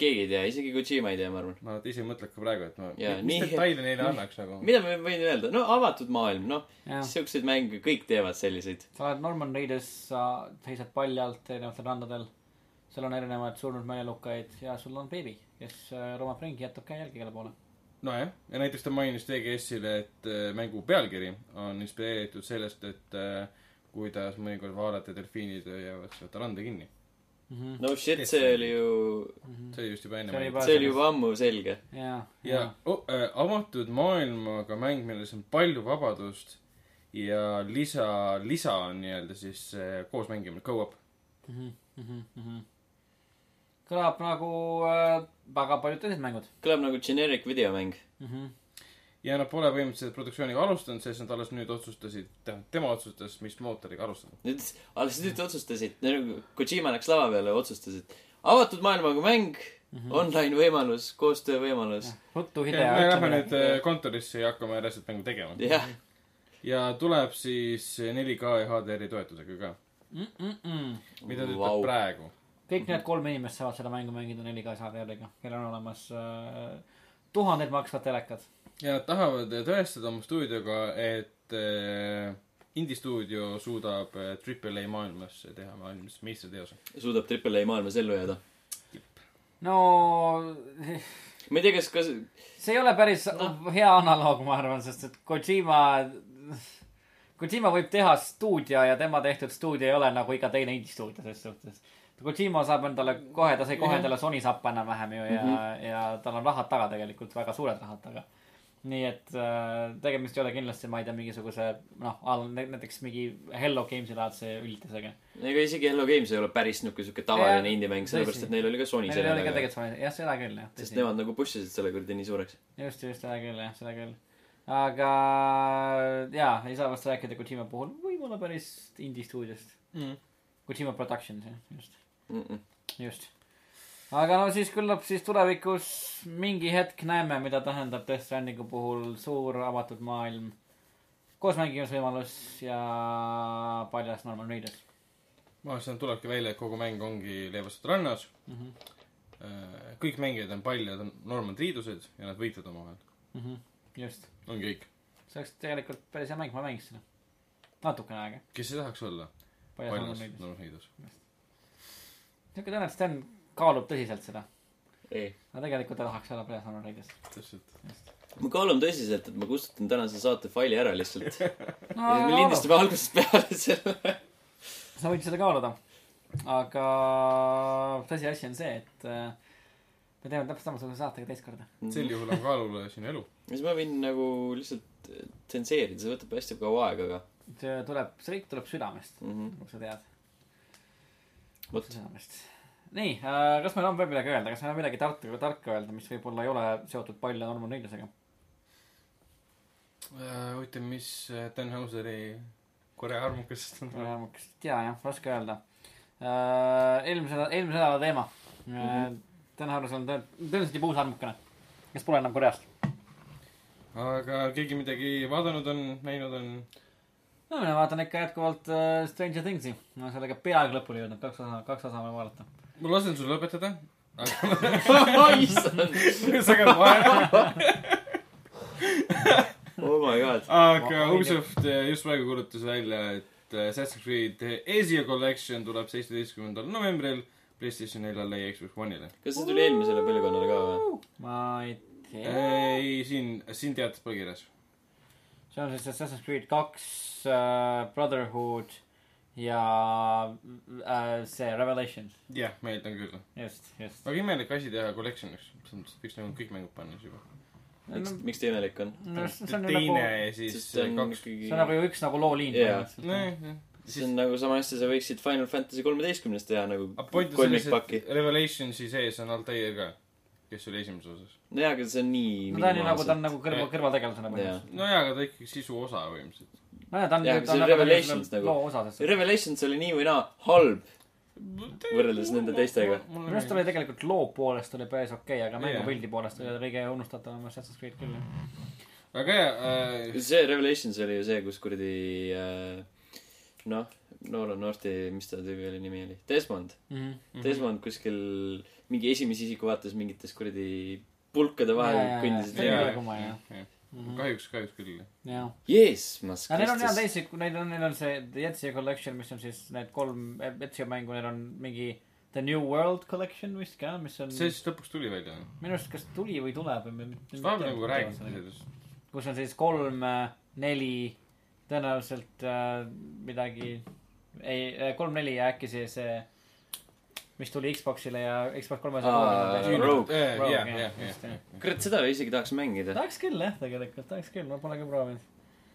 A: keegi ei tea , isegi Kojima ei tea , ma arvan .
C: ma vaata ise mõtlen ka praegu , et ma ,
A: Jaa,
C: mis
A: nii-
C: detaile neile annaks nagu .
A: mida ma võin öelda , no avatud maailm , noh ,
B: jah ,
A: siukseid mänge kõik teevad selliseid .
B: sa oled Norman Reedus , sa seisad palli alt erinevatel randadel . sul on erinevaid surnud meelelukkajaid ja sul on beebi , kes äh, romab ringi , jätab käe jälgi igale poole .
C: nojah , ja näiteks ta mainis TGS-ile , et äh, mängu pealkiri on inspireeritud sellest , et äh, kuidas mõnikord vaadata delfiinid hoiavad sealt randa kinni .
A: no shit , see oli ju , Mhm.
C: see oli just juba enne
B: See oli
C: mainitud .
A: see oli juba ammu selge .
B: jaa ,
C: ja oh, äh, avatud maailmaga mäng , milles on palju vabadust ja lisa , lisa on nii-öelda siis äh, koosmängimine , go-up .
B: Mhm, kõlab nagu äh, väga paljud teised mängud
A: kõlab nagu generic videomäng .
B: mm . -hmm.
C: ja nad pole põhimõtteliselt produktsiooniga alustanud , sest nad alles nüüd otsustasid , tähendab tema otsustas , mis mootoriga alustada .
A: nüüd , alles nüüd otsustasid , nagu Kojima läks lava peale , otsustasid . avatud maailmaga mäng mm , -hmm. online võimalus , koostöö võimalus .
B: ruttu
C: me
B: Hideo
C: lähme
B: ütlemine
C: nüüd . äh, kontorisse ja hakkame järjest mängu tegema .
A: jah ,
C: ja tuleb siis äh, 4K ja HDR-i toetusega ka , mida ta
A: Vau.
C: ütleb praegu .
B: kõik need kolm inimest saavad seda mängu mängida 4K saadjariga , kellel on olemas äh, tuhanded maksvad telekad .
C: ja nad tahavad äh, tõestada oma stuudioga , et äh, indie stuudio suudab äh, Triple A maailmas teha maailmas meistriteose .
A: suudab Triple A maailmas ellu jääda .
B: no
A: ma ei tea , kas , kas ,
B: see ei ole päris no. hea analoog , ma arvan , sest et Kojima , Kojima võib teha stuudio ja tema tehtud stuudio ei ole nagu iga teine indie-stuudio selles suhtes . Kojima saab endale kohe , ta sai kohe endale Sony sappa enam-vähem ju ja mm , -hmm. ja tal on rahad taga tegelikult , väga suured rahad taga . nii et äh, tegemist ei ole kindlasti , ma ei tea , mingisuguse noh , näiteks mingi Hello Games'i laadse üldisega .
A: ega isegi Hello Games ei ole päris niuke siuke tavaline
B: Jah,
A: indie-mäng , sellepärast
B: tõsi.
A: et neil oli ka Sony
B: meil ei ole
A: selja
B: ka
A: taga .
B: tegelikult Sony , jah , seda küll jah .
A: sest nemad nagu push isid selle kuradi nii suureks .
B: just , just , seda küll jah , seda küll . aga jaa , ei saa vast rääkida Kojima puhul võib-olla päris indie stuudiost . Kojima Productions jah , just , just . aga no siis küllap siis tulevikus mingi hetk näeme , mida tähendab Death Strandingu puhul suur avatud maailm , koosmängimisvõimalus ja paljas Norman Reedus .
C: ma arvan , sealt tulebki välja , et kogu mäng ongi leevastatud rannas mm .
B: Mhm,
C: -hmm. kõik mängijad on paljad Norman Triidused ja nad võitlevad omavahel .
B: mhm, just ,
C: on kõik .
B: see oleks tegelikult päris hea mäng , ma mängiks seda . natukene aega .
C: kes ei tahaks olla
B: paljas
C: paljas
B: Norman Reedus .
C: Norman Triidus ?
B: niisugune tunne , et Sten kaalub tõsiselt seda ,
A: ei ,
B: aga tegelikult ta tahaks olla paljas Norman Reedus .
C: täpselt .
A: ma kaalun tõsiselt , et ma kustutan tänase saate faili ära lihtsalt .
B: no,
A: me lindistame algusest peale selle .
B: sa võid seda kaaluda . aga tõsiasi on see , et äh, me teeme täpselt samasuguse saatega teist korda .
C: sel juhul on kaalul sinu elu .
A: siis ma võin nagu lihtsalt tsenseerida , see võtab hästi kaua aega , aga
B: see tuleb , see kõik tuleb südamest ,
A: mhm.
B: nagu sa tead ,
A: vot ,
B: südamest . nii äh, , kas meil on veel midagi öelda , kas meil on midagi tarka , tarka öelda , mis võib-olla ei ole seotud palju Norman Reedusega ?
C: huvitav , mis äh, Dan Hauseri Korea armukesest on ?
B: ma kas ei tea jah , raske öelda äh, . eelmise , eelmise nädala teema mm . -hmm. täna arvasin , on tõen- tõenäoliselt juba uus armukene , kes pole enam Koreast .
C: aga keegi midagi vaadanud on , näinud on ?
B: no mina vaatan ikka jätkuvalt äh, Stranger Thingsi , ma olen sellega peaaegu lõpuni jõudnud , kaks osa , kaks osa ma vaadata .
C: ma lasen sul lõpetada , aga
A: issand ,
C: sa käid vahele .
A: oh my god .
C: aga Ubisoft eh, just praegu kuulutas välja , et eh, Assassin's Creed Asia Collection tuleb seitsmeteistkümnendal novembril PlayStation neljale ja Xbox One'ile .
A: kas see tuli eelmisele põlvkonnale ka või ?
B: ma ei tea .
C: ei , siin , siin teatas põhikirjas .
B: see on siis Assassin's Creed kaks äh, , Brotherhood ja äh, see Revelation ,
C: jah , meeldinud küll .
B: just , just .
C: väga imelik asi teha collection'iks , selles mõttes , et võiks nagu kõik mängud panna siis juba .
A: miks , miks ta imelik on ?
B: no see on ju
C: teine
B: nagu ,
C: ja siis äh,
A: sest see on
C: kaks .
B: see on nagu
A: ikkagi ,
B: ju üks nagu looliin
A: Jaa.
B: põhimõtteliselt .
C: nojah , jah .
A: see on nagu sama asja , sa võiksid Final Fantasy kolmeteistkümnest teha nagu
C: aga point on selles ,
A: kolmikpaki
C: et . Revelationsi sees on Altair ka , kes oli esimeses osas .
A: nojah , aga see on nii
B: no ta on ju nagu , ta on nagu kõrva ,
C: Jah.
B: kõrvategelasena põhimõtteliselt .
C: nojaa , aga ta ikkagi sisu osa põhimõtteliselt .
B: nojah , ta on
A: Jah, aga ,
B: ta
A: see
B: on
A: on
B: nagu
A: Revelations
B: selle
A: nagu.
B: loo osa , sest minu
A: Revelations oli nii või naa halb . Võrreldes nende teistega.
B: arust oli tegelikult loo poolest oli päris okei , aga
C: Jah.
B: mängupildi poolest oli ta kõige unustatavam Assassin's Creed küll .
C: väga hea ,
A: see Revelations oli ju see , kus kuradi äh, noh , Nolan Northi , mis ta tüübi oli nimi oli , Desmond mm .
B: Mhm,
C: mhm.
A: -hmm. Desmond kuskil mingi esimese isiku vaates mingites kuradi pulkade
B: Jaa, jaa,
A: vahel
B: jaa.
A: kõndis
B: See oli
A: ja
B: väga kumma, jah. mhm.
C: kahjuks , kahjuks küll .
B: jah
A: Jeesmas
B: aga neil on jah
A: Kristus .
B: teisi , neil on , neil on see The Etsy Collection , mis on siis need kolm Etsy mängu , neil on mingi The New World Collection vist ka , mis on
C: see siis lõpuks tuli välja .
B: minu arust kas tuli või tuleb või me
C: sest vahepeal nagu räägiti . sellest .
B: kus on siis kolm , neli , tõenäoliselt äh, midagi , ei , kolm , neli ja äkki see , see , mis tuli Xboxile ja Xbox
A: Aa,
B: kolmesaja .
A: Rogue.
C: jah ,
B: Rogue,
C: jah ,
B: jah, just,
C: jah
B: jah. .
A: kurat , seda isegi tahaks mängida .
B: tahaks küll jah , tegelikult tahaks küll , ma pole ka proovinud .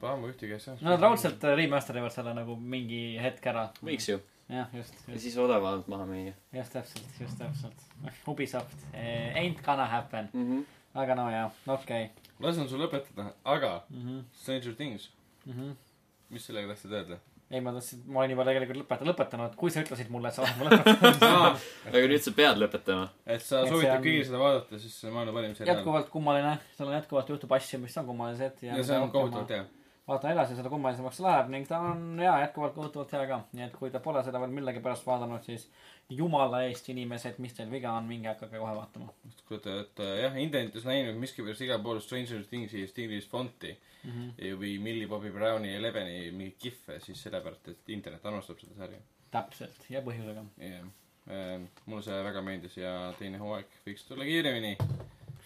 C: paha , ma ühtegi asja .
B: no nad . raudselt äh, remaster ivad selle nagu mingi hetk ära .
A: võiks ju .
B: jah , just ,
A: ja
B: just .
A: siis odavamalt maha müüa
B: just täpselt , just täpselt . Ubisoft eh, , ain't gonna happen .
A: mm . -hmm.
B: aga no jaa , okei okay.
C: lasen sul lõpetada , aga
B: mm . -hmm.
C: Stranger Things ,
B: Mm
C: mhm.
B: -hmm.
C: mis sellega tahtsid öelda ?
B: ei , ma tahtsin , ma olin juba tegelikult lõpeta- , lõpetanud , kui sa ütlesid mulle , et sa oled mu lõpetanud .
A: aga nüüd sa pead lõpetama .
C: et sa
B: Et see
C: soovitad
B: on-
C: kõigil seda vaadata , siis see on maailma parim seriaal .
B: jätkuvalt kummaline , seal on jätkuvalt juhtub asju , mis on kummalised .
C: ja see on kohutavalt . hea .
B: vaatan edasi , seda kummalisemaks läheb ning ta on jaa , jätkuvalt kohutavalt hea ka . nii et kui te pole seda veel millegipärast vaadanud , siis jumala eest , inimesed , mis teil viga on , minge hakake kohe vaatama
C: kurat , et äh, jah , internetis näinud miskipärast igal pool Stranger Thingsi stiilis fonti
B: mm . -hmm.
C: ja- või Millie Bobby Browni ja Leveni mingeid kihve , siis sellepärast , et internet armastab seda sarja .
B: täpselt ja põhjusega .
C: jah , mulle see väga meeldis ja teine hooaeg võiks tulla kiiremini .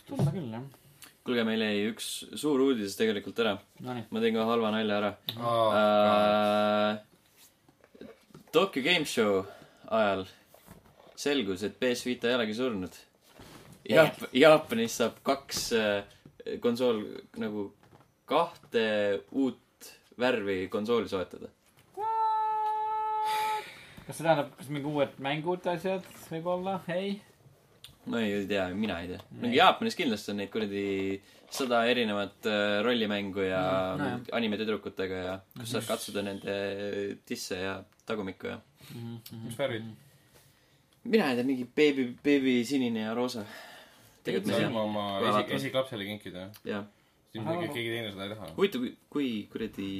B: tunda küll jah .
A: kuulge , meil jäi üks suur uudis tegelikult ära .
B: Nonii ,
A: ma tegin kohe halva nalja ära .
C: aa ,
A: Äh, Tokyo Game Show ajal selgus , et PS Vita ei olegi surnud . Jaap- , Jaapanis saab kaks äh, konsool nagu kahte uut värvi konsooli soetada .
B: kas see tähendab , kas mingi uued mängud , asjad võib-olla , ei ?
A: ma ei tea , mina ei tea .
B: Ei.
A: mingi Jaapanis kindlasti on neid kuradi sada erinevat äh, rollimängu ja
B: Mm, nojah.
A: animetüdrukutega ja kus saad katsuda nende tisse ja tagumikku ja Mhm.
C: mis värvid ?
A: mina ei tea , mingi beebi , beebisinine ja roosa . tegelikult
C: me
A: ma ei tea .
C: saame oma
A: Kohe
C: esi ,
A: vaatame.
C: esiklapsele kinkida .
A: jah .
C: siis
B: Ahah.
C: muidugi keegi teine seda ei taha .
A: huvitav , kui , kui kuradi ,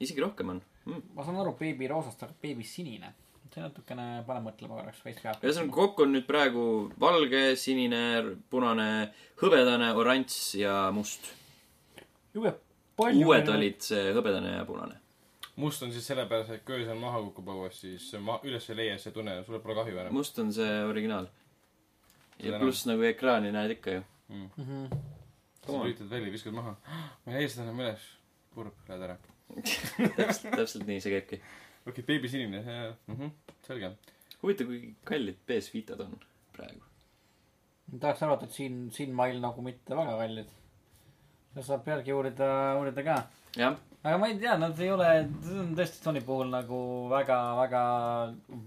A: isegi rohkem on mm. .
B: ma saan aru , beebi roosast , aga beebi sinine . see natukene paneb mõtlema korraks , veits peab .
A: ühesõnaga , kokku on nüüd praegu valge , sinine , punane , hõbedane , oranž ja must .
B: jube palju .
A: uued . olid see hõbedane ja punane .
C: must on siis sellepärast , et kui öösel maha kukub õues , siis ma üles ei leia , see tunne , sul pole kahju enam .
A: must on see originaal .
C: Seda
A: ja
C: enam.
A: pluss nagu ekraani näed ikka ju .
B: Mhm.
C: sa lülitad välja , viskad maha . ma ei leia seda enam üles . kurb , lähed ära .
A: täpselt , täpselt nii see käibki .
C: okei okay, , beebisinine , Mhm. selge .
A: huvitav , kui kallid PS Vitad on praegu .
B: tahaks arvata , et siin , siinmail nagu mitte väga kallid . seda saab järgi uurida , uurida ka .
A: jah ,
B: aga ma ei tea , nad ei ole , see on tõesti Sony puhul nagu väga , väga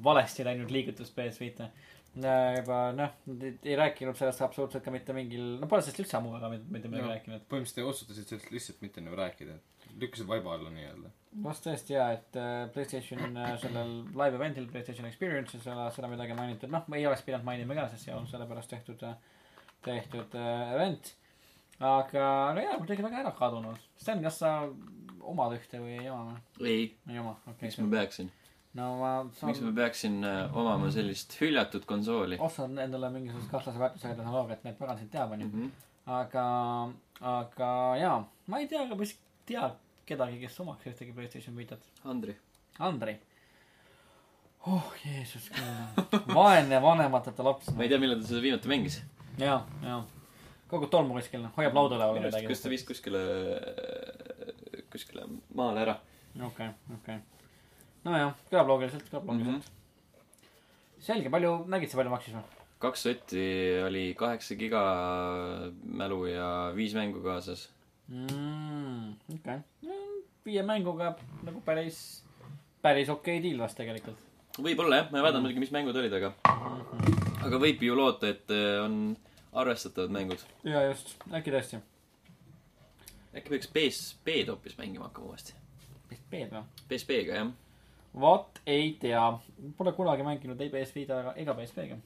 B: valesti läinud liigutus PS Vita . juba noh , nad ei- ei rääkinud sellest absoluutselt ka mitte mingil , no pole sellest üldse ammu väga mitte- mitte midagi
C: Jah.
B: rääkinud .
C: põhimõtteliselt otsustasid sellest lihtsalt mitte enam rääkida . lükkasid vaiba alla nii-öelda .
B: vast tõesti jaa , et äh, Playstation äh, sellel live event'il , Playstation Experience'is ei ole seda midagi mainitud , noh , ei oleks pidanud mainima ka , sest see on sellepärast tehtud , tehtud äh, event . aga , aga jaa , kuidagi väga ära kadunud . Sten , kas sa omad ühte või ei oma või ?
A: ei ,
B: ei oma , okei
A: miks ma . peaksin ,
B: no ma
A: miks ma
B: saan ,
A: peaksin äh, omama sellist hüljatud konsooli
B: ostan endale mingisugust kahtlase väärtusega tehnoloogiat , need pagan sind teab , onju .
A: mm .
B: aga , aga jaa , ma ei tea , aga ma isegi ei tea kedagi , kes omaks ühtegi Playstation viitat .
A: -hmm. Andri
B: Andrei . oh Jeesus küll , vaene vanemateta laps .
A: ma ei tea , millal ta seda viimati mängis .
B: ja , ja kogu tolmu kuskil , noh, hoiab lauda üleval
A: minu arust , kas ta
B: midagi .
A: viis kuskile kuskile maale ära .
B: okei , okei . nojah , kõlab loogiliselt , kõlab loogiliselt .
A: Mhm.
B: selge , palju , nägid sa , palju maksis või ?
A: kaks sotti oli kaheksa giga mälu ja viis mängu kaasas .
B: Mm, okei . viie mänguga nagu päris , päris okei deal vast tegelikult . Mhm.
A: võib-olla jah , ma ei vaadanud muidugi , mis mängud olid , aga , aga võib ju loota , et äh, on arvestatavad mängud .
B: ja just , äkki tõesti .
A: äkki peaks PSP-d hoopis mängima hakkama uuesti ?
B: vist B-d või ?
A: PSP-ga jah .
B: vot ei tea , pole kunagi mänginud ei PS Vita ega , ega PSP-ga .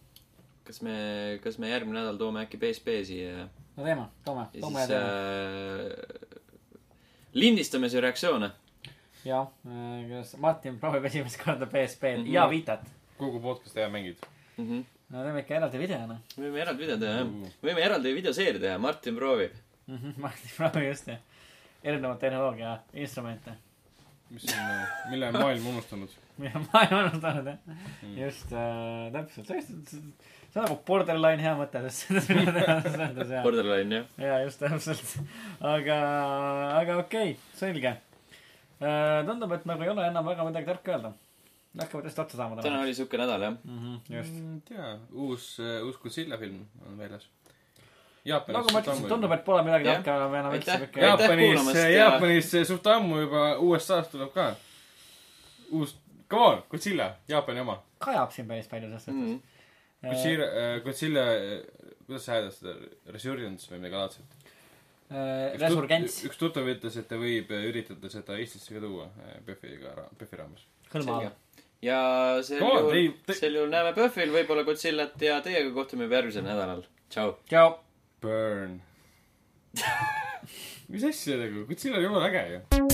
A: kas me , kas me järgmine nädal toome äkki PSP siia ja
B: no teeme , toome ,
A: ja
B: toome ja
A: siis
B: teeme .
A: äh, lindistame siia reaktsioone .
B: jah , kuidas Martin proovib esimest korda PSP-d mm
A: Mhm.
B: -hmm. ja Vitat .
C: kogu podcast'i ära mängid .
B: no teeme ikka eraldi videona
A: võime eraldi video teha jah . võime eraldi videoseeria teha , Martin proovib .
B: mm . -hmm. Martin proovib just jah , erinevat tehnoloogia instrumente
C: mis on , mille on maailm unustanud .
B: mida ma ei unustanud jah .
A: Mhm.
B: just äh, , täpselt , see on , see on nagu borderline hea mõte , selles mida teha , selles mõttes jah .
A: Borderline jah .
B: jaa , just täpselt . aga , aga okei okay, , selge . tundub , et nagu ei ole enam väga midagi tarka öelda . hakkavad just otsa saama
A: täna oli siuke nädal jah .
B: mm . -hmm, just .
C: tea , uus , uus Godzilla film on väljas . Jaapanis .
B: nagu ma ütlesin , tundub , et pole midagi
A: Jah.
B: tarka enam , enam
A: Aitäh.
B: üldse .
A: Jaa.
C: Jaapanis ,
A: kuulamast ja-
C: Jaapanis äh, suht ammu juba USA-s tuleb ka uus , come on , Godzilla , Jaapani oma .
B: kajab siin päris palju selles
A: Mm
B: suhtes
A: -hmm.
B: Äh,
C: Godzilla , Godzilla , kuidas sa hääldad seda , Resurgence või midagi laadset ?
B: äh, Resurgents ,
C: üks tuttav ütles , et ta võib äh, üritada seda Eestisse ka tuua äh, PÖFFiga , PÖFFi raames .
B: hõlma all
A: selge. . ja sel
C: Come on, ei,
A: juhul ,
C: te-
A: sel juhul näeme PÖFFil , võib-olla Godzillat ja teiega kohtume juba järgmisel nädalal . tšau .
B: tšau .
C: Burn . mis asja nagu , Godzilla on jumala äge ju .